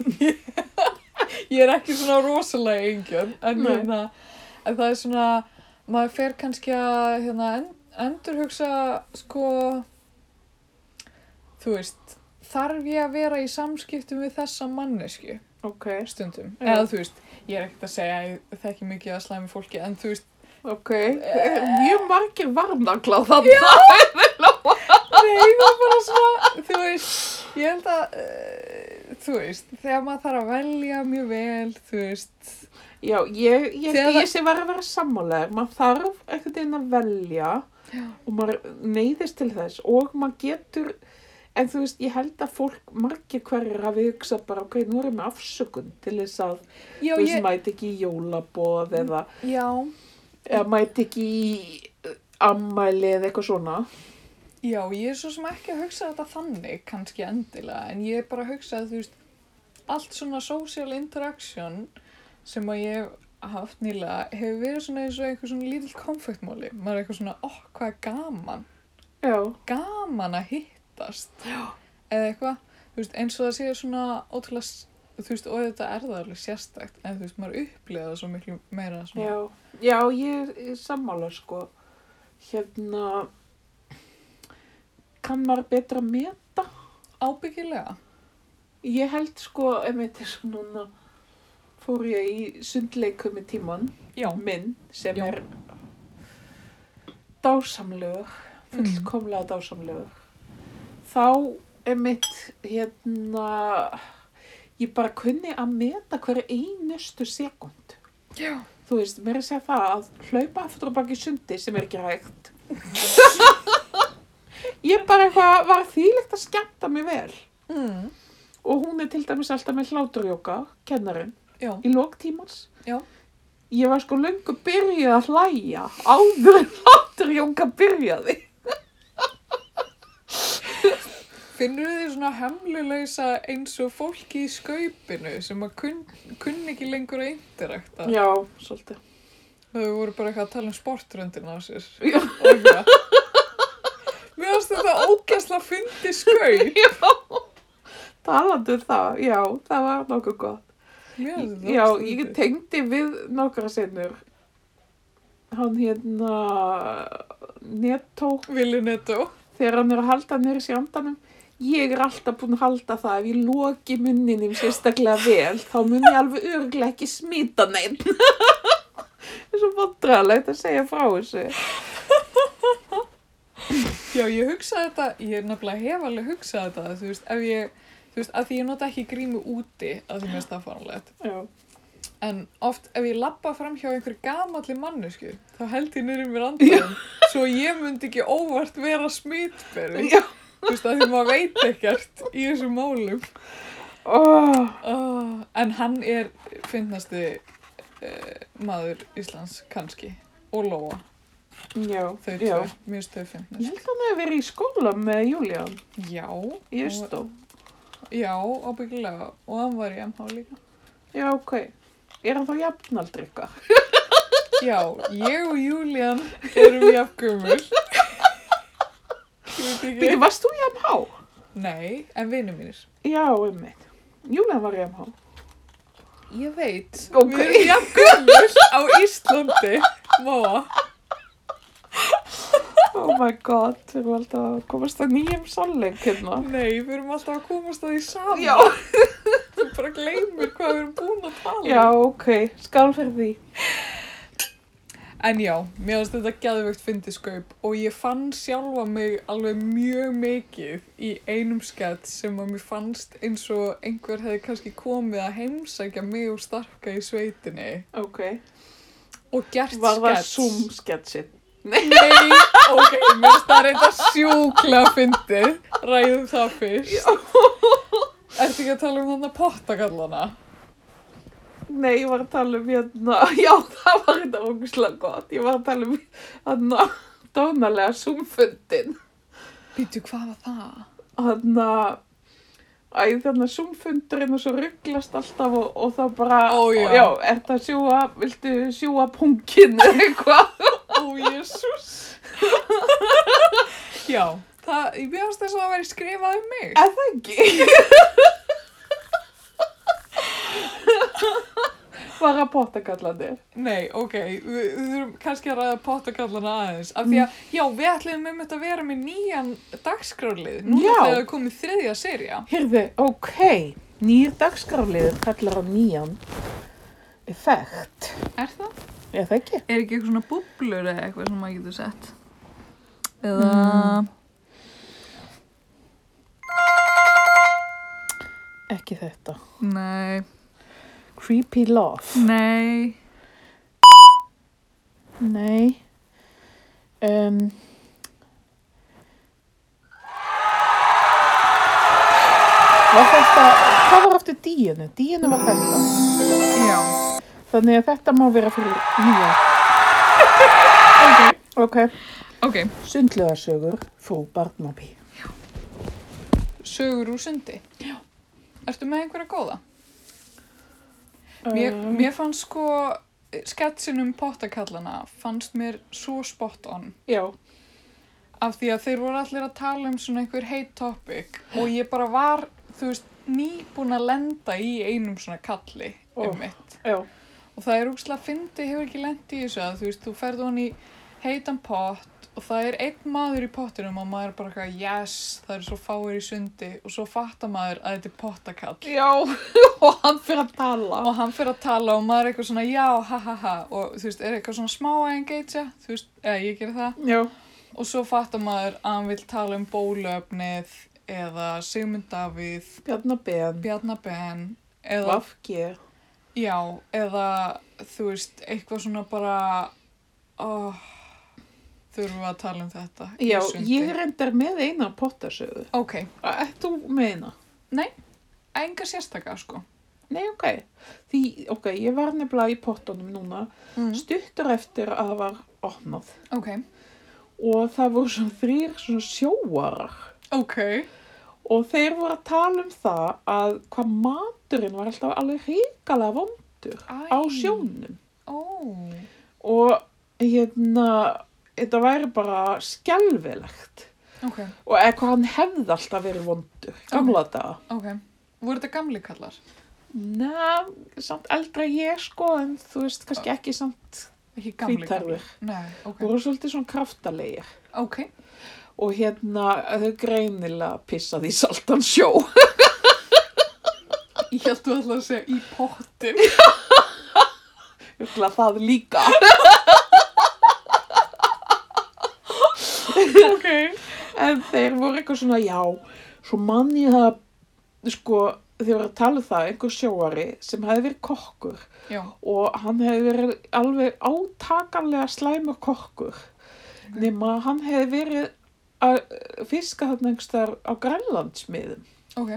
A: ég er ekki svona rosalega engjörn en
B: Nei.
A: hérna, en það er svona maður fer kannski að hérna, en, endurhugsa sko þú veist þarf ég að vera í samskiptum við þessa mannesku
B: Ok,
A: stundum.
B: Já.
A: Eða þú veist, ég er ekkert að segja að ég þekki mikið að slæmi fólki, en þú veist,
B: ok. E- Mjög margir varnagla þannig.
A: nei, það er bara svona, þú veist, ég held að, uh, þú veist, þegar maður þarf að velja mjög vel, þú veist,
B: Já, ég, ég, ég,
A: Þegar það-
B: ég sé var að vera sammálaður, maður þarf einhvern veginn að velja og maður neyðist til þess og maður getur, en þú veist, ég held að fólk, margir hverjir hafi hugsað bara, ok, nú erum við afsökun til þess að,
A: já,
B: þú veist,
A: ég, Mm.
B: mæti ekki í jólaboð eða,
A: já,
B: eða mæti ekki í eh, ammæli eða eitthvað svona.
A: já, ég er svo sem ekki að hugsa þetta þannig, kannski endilega, en ég er bara að hugsa að, þú veist, allt svona social interaction sem að ég hef haft nýlega hefur verið svona eins og einhver svona lítill konfektmáli, maður er eitthvað svona, ó, hvað er gaman.
B: Já,
A: gaman að hittast eða eitthvað, þú veist, eins og það sé svona ótrúlega, s- þú veist, og þetta er það alveg sérstakt, en þú veist, maður upplifa það svo miklu meira svona.
B: já, já, ég er- ég er sammála, sko, hérna, kann maður betra að meta?
A: Ábyggilega.
B: Ég held sko, ef þetta er svona núna, fór ég í sundleiku með tímann
A: Já.
B: minn sem
A: Já.
B: er dásamlegur, fullkomlega dásamlegur. Þá er mitt, hérna, ég bara kunni að meta hverja einustu sekund.
A: Já.
B: Þú veist, mér er að segja það að hlaupa aftur og baki sundi sem er ekki hægt. Ég bara eitthvað var þvílegt að skemmta mig vel.
A: Mm.
B: og hún er til dæmis alltaf með hláturjóka, kennarinn,
A: já,
B: í lok tímans.
A: já.
B: Ég var sko löngu byrjuð að hlæja áður en hláturjóka byrjaði.
A: Finnur þið svona hemluleysa eins og fólki í skaupinu sem að kun, kunni ekki lengur að interakta?
B: Já, svolítið.
A: Þau voru bara eitthvað að tala um sportröndina á sér.
B: Já.
A: Og eitthvað. Mér finnst þetta ógæsla fyndi skaup.
B: Talandi um það, já, það var nokkuð gott.
A: Mér finnst þetta
B: Já,
A: ógeðslega
B: ég
A: fyndið.
B: tengdi við nokkra sinnur. Hann hérna, Netto,
A: Vili Netto.
B: þegar hann er að halda nýri sjandanum. Ég er alltaf búin að halda það ef ég loki munninum sérstaklega vel, þá mun ég alveg örglega ekki smita neinn. Það er svo vandræðalegt að segja frá þessu.
A: Já, ég hugsaði þetta, ég er nefnilega hef alveg hugsað þetta, þú veist, ef ég, þú veist, að því ég nota ekki grímu úti að því mér finnst það faranlegt.
B: Já,
A: En oft ef ég lappa fram hjá einhver gamalli mannesku, þá held ég niður í mér andan, svo ég myndi ekki óvart vera smitberi.
B: Já.
A: Þú veist, að því maður veit ekkert í þessum málum.
B: oh,
A: Oh, en hann er finnasti uh, maður Íslands, kannski, og Lóa,
B: já,
A: þau tvö,
B: já.
A: mér finnst þau
B: Ég
A: finnast.
B: held að hann hefur verið í skóla með Júlían
A: Já,
B: í Östó.
A: já, ábyggilega, og hann var í MH líka.
B: Já, ok. Er hann þá jafnaldri eitthvað?
A: Já, ég og Julian erum jafngumul. Ég veit ekki.
B: Byrju, varst þú í MH?
A: Nei, en vinnu mínir.
B: Já, einmitt. Júlían var í MH.
A: Ég veit.
B: Ok.
A: Við erum jafn gömul á Íslandi. Móa.
B: Oh my god, við erum alltaf að komast að nýjum sannleik hérna.
A: Nei, við erum alltaf að komast að því saman.
B: Já,
A: Þú bara gleymir hvað við erum búin að tala. um.
B: já, ok, skál fyrir því.
A: En já, mér finnst þetta geðvögt fyndisköp og ég fann sjálfa mig alveg mjög mikið í einum skett sem að mér fannst eins og einhver hefði kannski komið að heimsækja mig og starka í sveitinni
B: Ok,
A: og gert
B: var það
A: skets.
B: Zoom-sketsin?
A: Nei, ok, mér finnst það reynda sjúklega fyndið. Ræðum það fyrst. Ertu ekki að tala um þannig pottakallana?
B: Nei, ég var að tala um hérna, já, það var þetta ógustlega gott. Ég var að tala um hérna, dónalega Zoom-fundin.
A: Býtu, hvað var það?
B: Hérna, æði þarna Zoom-fundurinn og svo rugglast alltaf og, og það bara,
A: Ó, já.
B: já ertu að sjúa, viltu sjúa punkinu eitthvað?
A: Ó, jésús. Já, það, mér finnst þess að það væri skrifað um mig.
B: Er það ekki? Bara pottakallandi.
A: Nei, ok, við, við þurfum kannski að ræða pottakallana aðeins. Af því að, já, við ætlum um þetta að vera með nýjan dagskrálið. Núna
B: Já.
A: þegar það er komið þriðja serja.
B: Hérðu, ok, nýr dagskrafliður kallar á nýjan effekt.
A: Er það?
B: Er það ekki?
A: Er ekki eitthvað svona búblur eða eitthvað sem maður getur sett? Eða...
B: Mm. Ekki þetta.
A: Nei,
B: Creepy love.
A: nei.
B: Nei. Um, var þetta, hvað var aftur díinu? Díinu var þetta.
A: Já.
B: Þannig að þetta má vera fyrir nýja. Ok.
A: Ok.
B: Sundlegarsögur frú Barnaby.
A: Sögur úr sundi. Já. Ertu með einhverja góða? Mér,
B: Um,
A: mér fannst sko, sketsin um pottakallana fannst mér svo spot on.
B: já.
A: Af því að þeir voru allir að tala um svona einhver heit topic og ég bara var, þú veist, nýbúin að lenda í einum svona kalli
B: Ó.
A: um mitt.
B: Já.
A: Og það er úkslega fyndi hefur ekki lent í þessu að þú veist, þú ferð hon í heitan pott og það er einn maður í pottinum og maður er bara eitthvað, yes, það er svo fáir í sundi og svo fattar maður að þetta er pottakall.
B: Já. Og hann fyrir að tala.
A: Og hann fyrir að tala og maður er eitthvað svona, já, ha, ha, ha, og þú veist, er eitthvað svona smá að engagea, þú veist, eða ég gerir það.
B: Já.
A: Og svo fattar maður að hann vil tala um bólöfnið eða Sigmund Davíð,
B: Bjarnaben.
A: Bjarna Ben, eða
B: Vafki.
A: Já, eða þú veist, eitthvað svona bara oh, þurfum við að tala um þetta í
B: Já,
A: sundi.
B: ég reyndar með eina pottasögu.
A: Ok,
B: Ert þú með eina?
A: enga sérstaka, sko.
B: Nei, ok. Því, ok, ég var nefnilega í pottunum núna Mm. stuttur eftir að það var opnað
A: Ok.
B: og það voru svona þrýr svona sjóarar
A: Ok.
B: og þeir voru að tala um það að hvað maturinn var alltaf alveg ríkalega vondur
A: Æ.
B: á sjónum
A: Ó.
B: og hérna, þetta væri bara skelvilegt
A: Ok.
B: og eða hvað hann hefði alltaf verið vondur, gamla daga.
A: Ok. Voru þetta gamli kallar?
B: Næ, samt eldra ég sko, en þú veist kannski ekki samt
A: Ekki gamli
B: hvítarður.
A: Nei, ok.
B: voru svolítið svona kraftalegir
A: Ok.
B: og hérna þau greinilega pissaði í saltan sjó.
A: Ég held þú alltaf að segja í pottin.
B: Jökla það líka.
A: ok.
B: En þeir voru eitthvað svona, já, svo mann ég það, sko, þeir voru að tala um það, einhver sjóari sem hefði verið kokkur
A: Já.
B: og hann hefði verið alveg átakanlega slæmur kokkur. Nefn að hann hefði verið að fiska þarna einhverstaðar á Grænlandsmiðum.
A: Ok.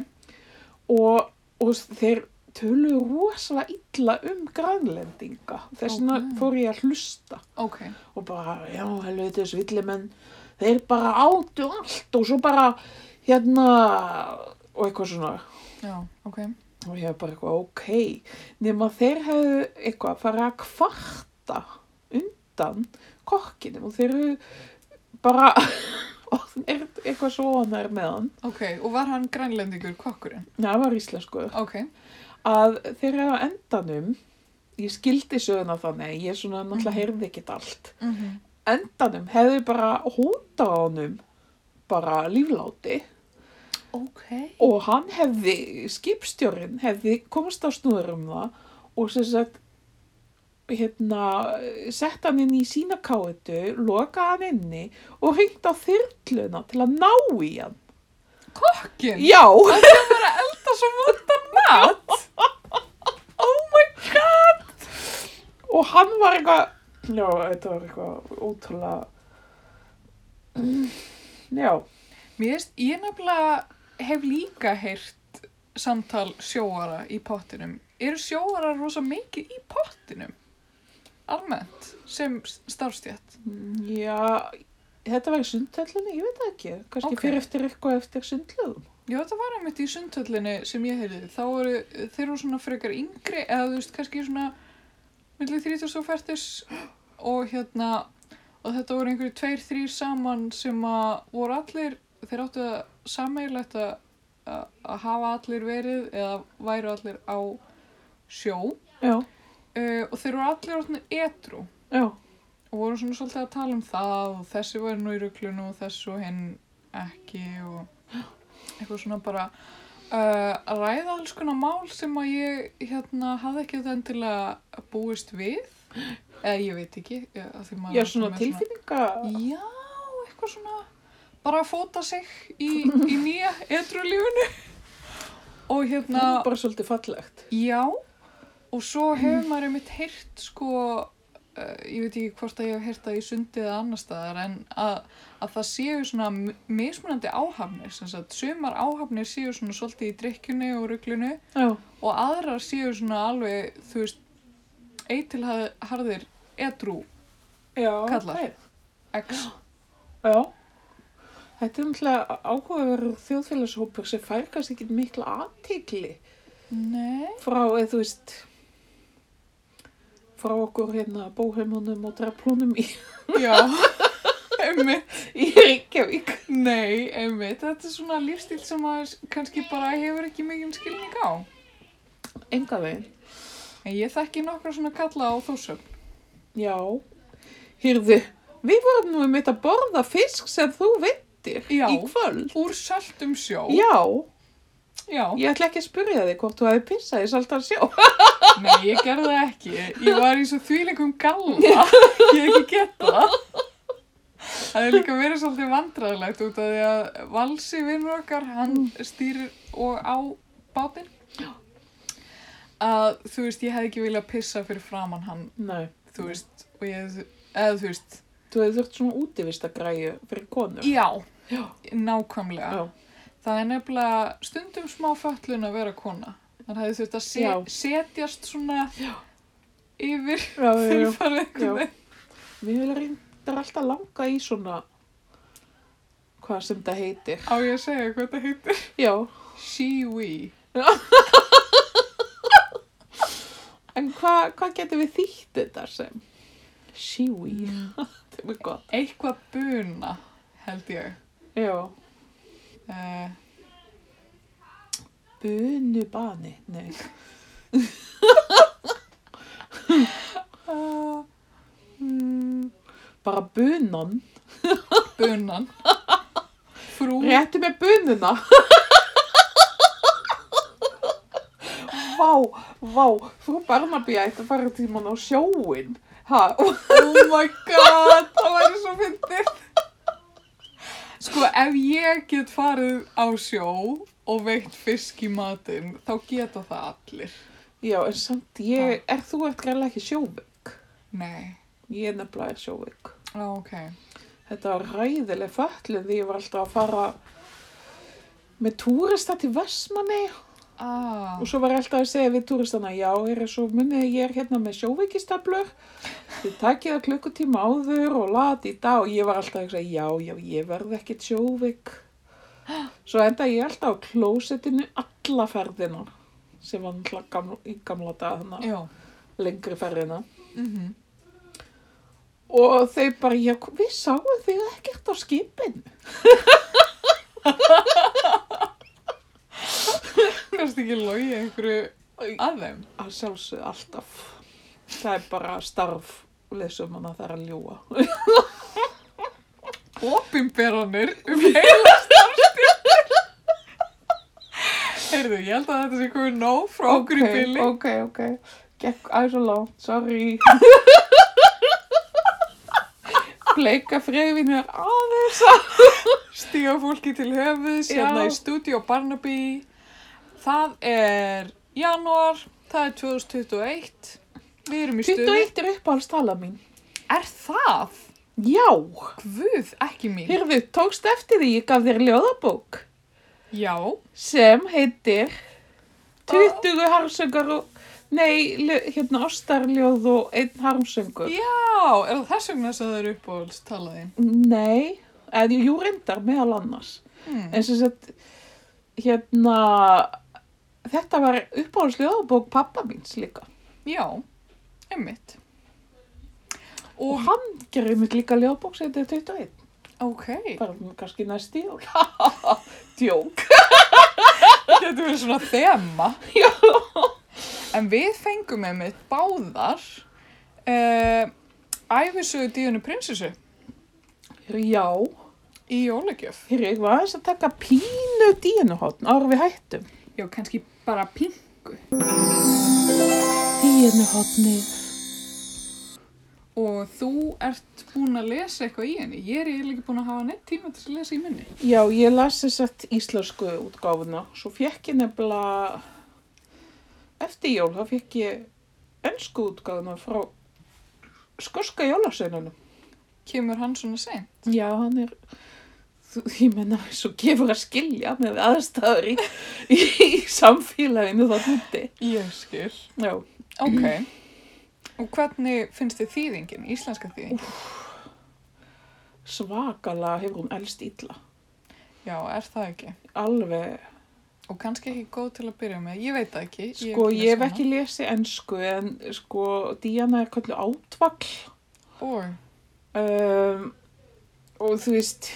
B: og, og þeir töluðu rosalega illa um grænlendinga. Þess vegna
A: Ókei.
B: fór ég að hlusta
A: Ok.
B: og bara, já, helviti þessu villimenn, þeir bara átu allt og svo bara, hérna, og eitthvað svona.
A: Já. Ok.
B: Og ég var bara eitthvað, ok, nema þeir hefðu eitthvað farið að kvarta undan kokkinum og þeir eru bara, og þeir eru eitthvað svo onar með hann.
A: Ok. Og var hann grænlendingur kokkurinn?
B: Nei, það var íslenskuður.
A: Ok.
B: að þegar á endanum ég skildi söguna þannig ég svona náttúrulega heyrði ekkert allt
A: Mm
B: endanum hefði bara hóta á honum bara lífláti
A: Ok.
B: og hann hefði, skipstjórin hefði komast á snúður um það og sem sagt hérna, sett hann inn í sína káetu, loka hann inni og hringt á þyrluna til að ná í hann.
A: Kokkin?
B: Já!
A: Það er svo vondan mat.
B: Og hann var eitthvað, já, þetta var eitthvað ótrúlega, Mm, já,
A: Mér veist, ég nefnilega hef líka heyrt samtal sjóara í pottinum. Eru sjóara rosa mikið í pottinum? Almennt, sem starfstjætt.
B: Mm, já, þetta var í sundhöllinni, ég veit það ekki, kannski
A: Ok.
B: okay. fyrir eftir eitthvað eftir sundlöðum.
A: Já, þetta var einmitt í sundhöllinni sem ég heyrði. Þá eru, þeir eru svona frekar yngri, eða þú veist, kannski svona millir 30 og færtis og hérna, og þetta voru einhverju tveir, þrýr saman sem að voru allir, þeir áttu að sameigilegt að, að að hafa allir verið eða væru allir á sjó.
B: Já,
A: uh, og þeir voru allir orðinir etru
B: já,
A: og voru svona svolítið að tala um það og þessi var nú í ruglunu og þessu og hinn ekki og eitthvað svona bara uh, að ræða alls konar mál sem að ég hérna hafði ekki þetta endilega búist við eða ég veit ekki eh, ég,
B: já, svona tilfinninga,
A: já, eitthvað svona bara að fóta sig í, í nýja etru lífinu og hérna
B: það var bara svolítið fallegt.
A: Já, og svo hefur maður einmitt heyrt sko, uh, ég veit ekki hvort að ég hef heyrt það í sundi eða annar staðar, en að, að það séu svona m- mismunandi áhafnir, sem sagt, sumar áhafnir séu svona svolítið í drikkjunni og ruglunni
B: Já,
A: og aðrar séu svona alveg, þú veist, eitilharðir edrú
B: já,
A: Kallar.
B: ok.
A: X.
B: Já, þetta er náttúrulega áhugaverður þjóðfélagshópur sem fær kannski ekki mikla aðtikli
A: Nei,
B: frá, eða þú veist, frá okkur hérna bóheimunum og dreplunum í,
A: já, einmitt,
B: í Reykjavík.
A: nei, einmitt, þetta er svona lífstíl sem maður kannski bara hefur ekki mikið skilning á.
B: Enga veginn.
A: En ég þekki nokkra svona kalla á þósum.
B: Já. Hýrðu, við vorum nú einmitt að borða fisk sem þú vittir
A: Já.
B: í kvöld.
A: Úr saltum sjó?
B: Já,
A: Já.
B: ég ætla ekki að spyrja þig hvort þú hefði pissað í saltan sjó.
A: Nei, ég gerði það ekki. Ég var í svo þvíleikum galla. Ég hef ekki gett það. Það er líka verið svolítið vandræðilegt út af því að Valsi vinnur okkar, hann
B: Mm.
A: stýrir og á bátinn. Að þú veist, ég hefði ekki viljað pissa fyrir framann hann,
B: Nei,
A: þú veist, og ég hefði, eða þú veist,
B: þú hefði þurft svona útivista græju fyrir konur.
A: já, nákvæmlega.
B: Já.
A: Þannig Það er nefnilega stundum smá föllun að vera kona. Þannig hefði þurft að se
B: Já.
A: setjast svona
B: Já.
A: yfir
B: Já, já, já.
A: þurfarið einhvern
B: Já.
A: veginn.
B: Mér vil reyndar alltaf langa í svona, hvað sem það heitir.
A: Á ég að segja hvað þetta heitir?
B: Já,
A: She-we.
B: en hvað hva getum við þýtt þetta sem? Shiwi, þetta er mjög gott.
A: Eitthvað buna, held ég.
B: Já,
A: Uh,
B: bunubani, nei.
A: uh, mm,
B: Bara bunan.
A: bunan. Frú.
B: Réttu með bununa. vá, vá, frú Barnaby ætti að fara tíman á sjóin. Ha,
A: Oh my god, það væri svo fyndið. Sko, ef ég get farið á sjó og veitt fisk í matinn, þá geta það allir.
B: já, en samt ég, er þú ert greiðlega ekki sjóveik?
A: Nei.
B: Ég er nefnilega er sjóveik.
A: Á, ok.
B: Þetta var ræðileg föllin því ég var alltaf að fara með túrista til Vestmanni
A: Ah,
B: og svo var ég alltaf að segja við túristana já, er svo munið ég er hérna með sjóveikistöflur þið takið það klukkutíma áður og lati í dag og ég var alltaf að segja já, já, ég verð ekkit sjóveik svo enda ég alltaf á klósettinu alla ferðina sem var alltaf gamla, í gamla dagana
A: já.
B: lengri ferðina
A: Mm
B: og þau bara, já, við sáum þig ekkert á skipinu
A: Kannst ekki logi einhverju að þeim.
B: að sjálfsögðu alltaf. Það er bara starf lesum hann að það er að ljúa.
A: Opinberanir um heila starfstíð. Heyrðu, ég held að þetta sé komið nóg frá okkur í bili.
B: Ok, ok, gekk aðeins og langt, sorry. Bleika freyfin er aðeins.
A: Stíga fólki til höfuðs,
B: Já.
A: hérna í stúdíu Barnaby. Það er janúar, það er 2021. Við erum í stuði.
B: 21 er uppáhaldstala mín.
A: Er það?
B: Já,
A: Guð, ekki mín.
B: hérðu, tókst eftir því ég gaf þér ljóðabók
A: Já,
B: sem heitir 20 harmsöngar og, nei, ljó- hérna ástarljóð og einn harmsöngur.
A: já, er það þess vegna sem það er uppáhalds talaðin?
B: Nei, en jú reyndar meðal annars.
A: Hmm.
B: En sem sagt, hérna, þetta var uppáhaldsljóðabók pappa míns líka.
A: Já, einmitt.
B: Og
A: Og,
B: hann gerir mig líka ljóðabók sem þetta er 21.
A: ok,
B: Bara kannski næst í jól. Djók.
A: þetta verið svona þema.
B: Já.
A: En við fengum einmitt báðar uh, æfisögu díðinu prinsessu
B: Já,
A: í jólagjöf.
B: hér ég var aðeins að taka pínu díunuhotn ára við hættum.
A: Já, kannski bara pingu.
B: Díunuhotnið.
A: Og þú ert búin að lesa eitthvað í henni. Ég er eiginlega ekki búin að hafa neitt tíma til að lesa í minni.
B: Já, ég las þess að íslensku útgáfuna. Svo fekk ég nefnilega, eftir jól, þá fekk ég ennsku útgáfuna frá skoska jólaseinunum.
A: Kemur hann svona seint?
B: Já, hann er, þú, ég menna, svo gefur að skilja með aðstæður í, í, í samfélaginu þá hundi.
A: Ég skil.
B: Já,
A: Ok. Og hvernig finnst þið þýðingin, íslenska þýðingin?
B: svakala hefur hún elst illa.
A: Já, er það ekki?
B: Alveg,
A: Og kannski ekki góð til að byrja með. Ég veit það ekki.
B: sko, ég hef
A: lesið
B: ekki lesið ennsku en sko, Díana er kallu átvagl.
A: hana. Og,
B: um, og þú veist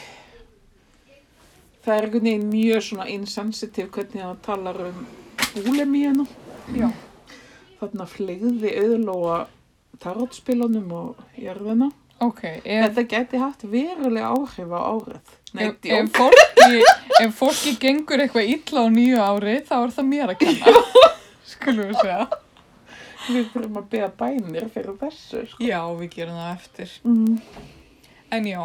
B: það er einhvern veginn mjög svona insensitive hvernig það talar um búlemíuna
A: já.
B: þarna fleigði auðlóa tarotspilunum og jörðina
A: Ok, ef,
B: þetta geti haft verulega áhrif á árið Nei,
A: ef,
B: djók.
A: ef, fólki, ef fólki gengur eitthvað illa á nýju ári, þá er það mér að kenna. Skulum við segja.
B: við þurfum að beða bænir fyrir þessu sko.
A: Já, við gerum það eftir.
B: mm,
A: En já,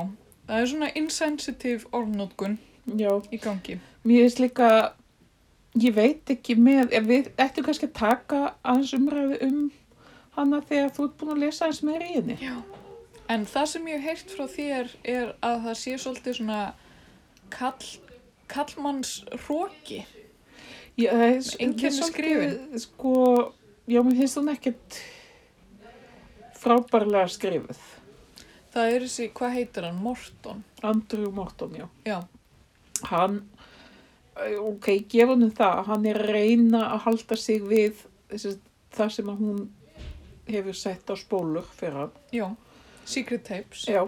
A: það er svona insensitive orðnótkun
B: já,
A: í gangi.
B: mér veist líka ég veit ekki með ef við ættum kannski að taka aðeins umræðu um hana þegar þú ert búin að lesa aðeins meira í henni
A: En það sem ég hef heyrt frá þér er að það sé svolítið svona kall, kallmanns róki.
B: Já, það er s-
A: Einkenni
B: þetta er
A: skrifin.
B: svolítið, Sko, já, mér finnst hún ekkert frábærlega skrifið.
A: Það er þessi, hvað heitir hann, Morton?
B: Andrew Morton, já.
A: Já,
B: Hann, eh, ok, gefa hann það, hann er að reyna að halda sig við þessi, það sem að hún hefur sett á spólur fyrir hann.
A: já, Secret Tapes.
B: Já,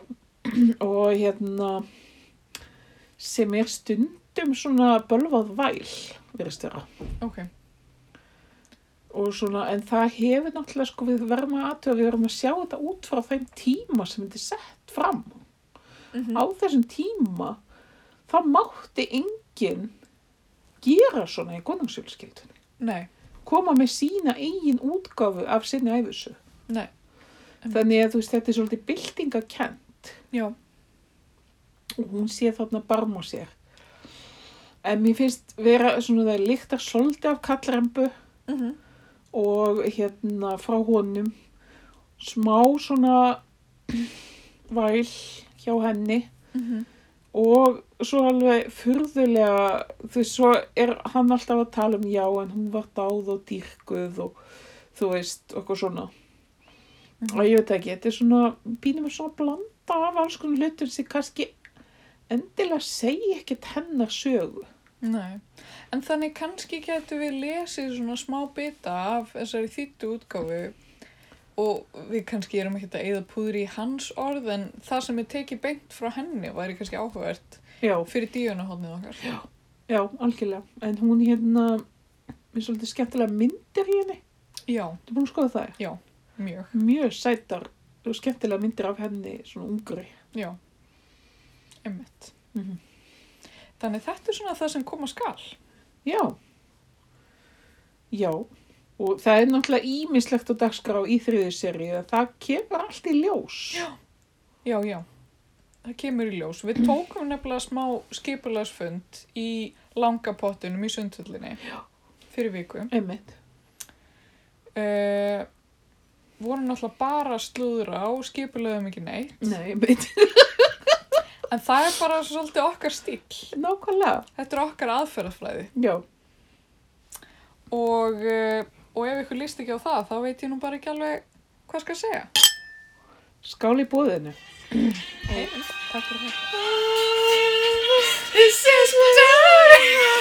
B: og hérna, sem er stundum svona bölvað væl, verðist vera.
A: Ok,
B: og svona, en það hefur náttúrulega sko við verðum að aðtöða, við verðum að sjá þetta út frá þeim tíma sem þetta er sett fram
A: Mhm.
B: á þessum tíma þá mátti enginn gera svona í konungsfjölskyldun
A: nei,
B: koma með sína eigin útgáfu af sinni æfissu
A: nei,
B: þannig að þú veist þetta er svolítið byltingakent
A: já,
B: og hún sé þarna barm á sér en mér finnst vera svona það líktar svolítið af kallrembu
A: mm
B: og hérna frá honum smá svona væl hjá henni og svo alveg furðulega þú veist, svo er hann alltaf að tala um já en hún var dáð og dýrkuð og þú veist, okkur svona
A: Mhm.
B: og ég veit ekki, þetta er svona pínum er svona blanda af alls konar hlutur sem kannski endilega segi ekkert hennar sögu
A: nei. En þannig kannski getum við lesið svona smá bita af þessari þýttu útgáfu og við kannski erum ekkert að eyða púðri í hans orð en það sem er tekið beint frá henni væri kannski áhugavert
B: já,
A: fyrir díunahóðnið okkar. Já.
B: já, algjörlega en hún hérna er svolítið skemmtilega myndir í henni
A: Já,
B: Þú búin að skoða það?
A: mjög,
B: Mjög sætar og skemmtilega myndir af henni svona ungri.
A: já, emmitt.
B: Mhm.
A: Þannig þetta er svona það sem koma skal.
B: Já. Já. Og það er náttúrulega ímislegt á dagskrá í þriðið serið að það kemur allt í ljós. Já.
A: Já, já, það kemur í ljós. Við tókum nefnilega smá skipulagsfund í langapottunum í sundhullinni fyrir viku.
B: Einmitt.
A: Uh, vorum náttúrulega bara að slúðra og skipulaðum ekki neitt.
B: Nei, einmitt.
A: En það er bara svolítið okkar stíl.
B: Nákvæmlega.
A: Þetta er okkar aðferðaflæði.
B: Já.
A: Og, uh, og ef ykkur líst ekki á það, þá veit ég nú bara ekki alveg hvað skal segja.
B: Skál í bóðinu.
A: Heiminn, takk fyrir þetta.
C: This is my story.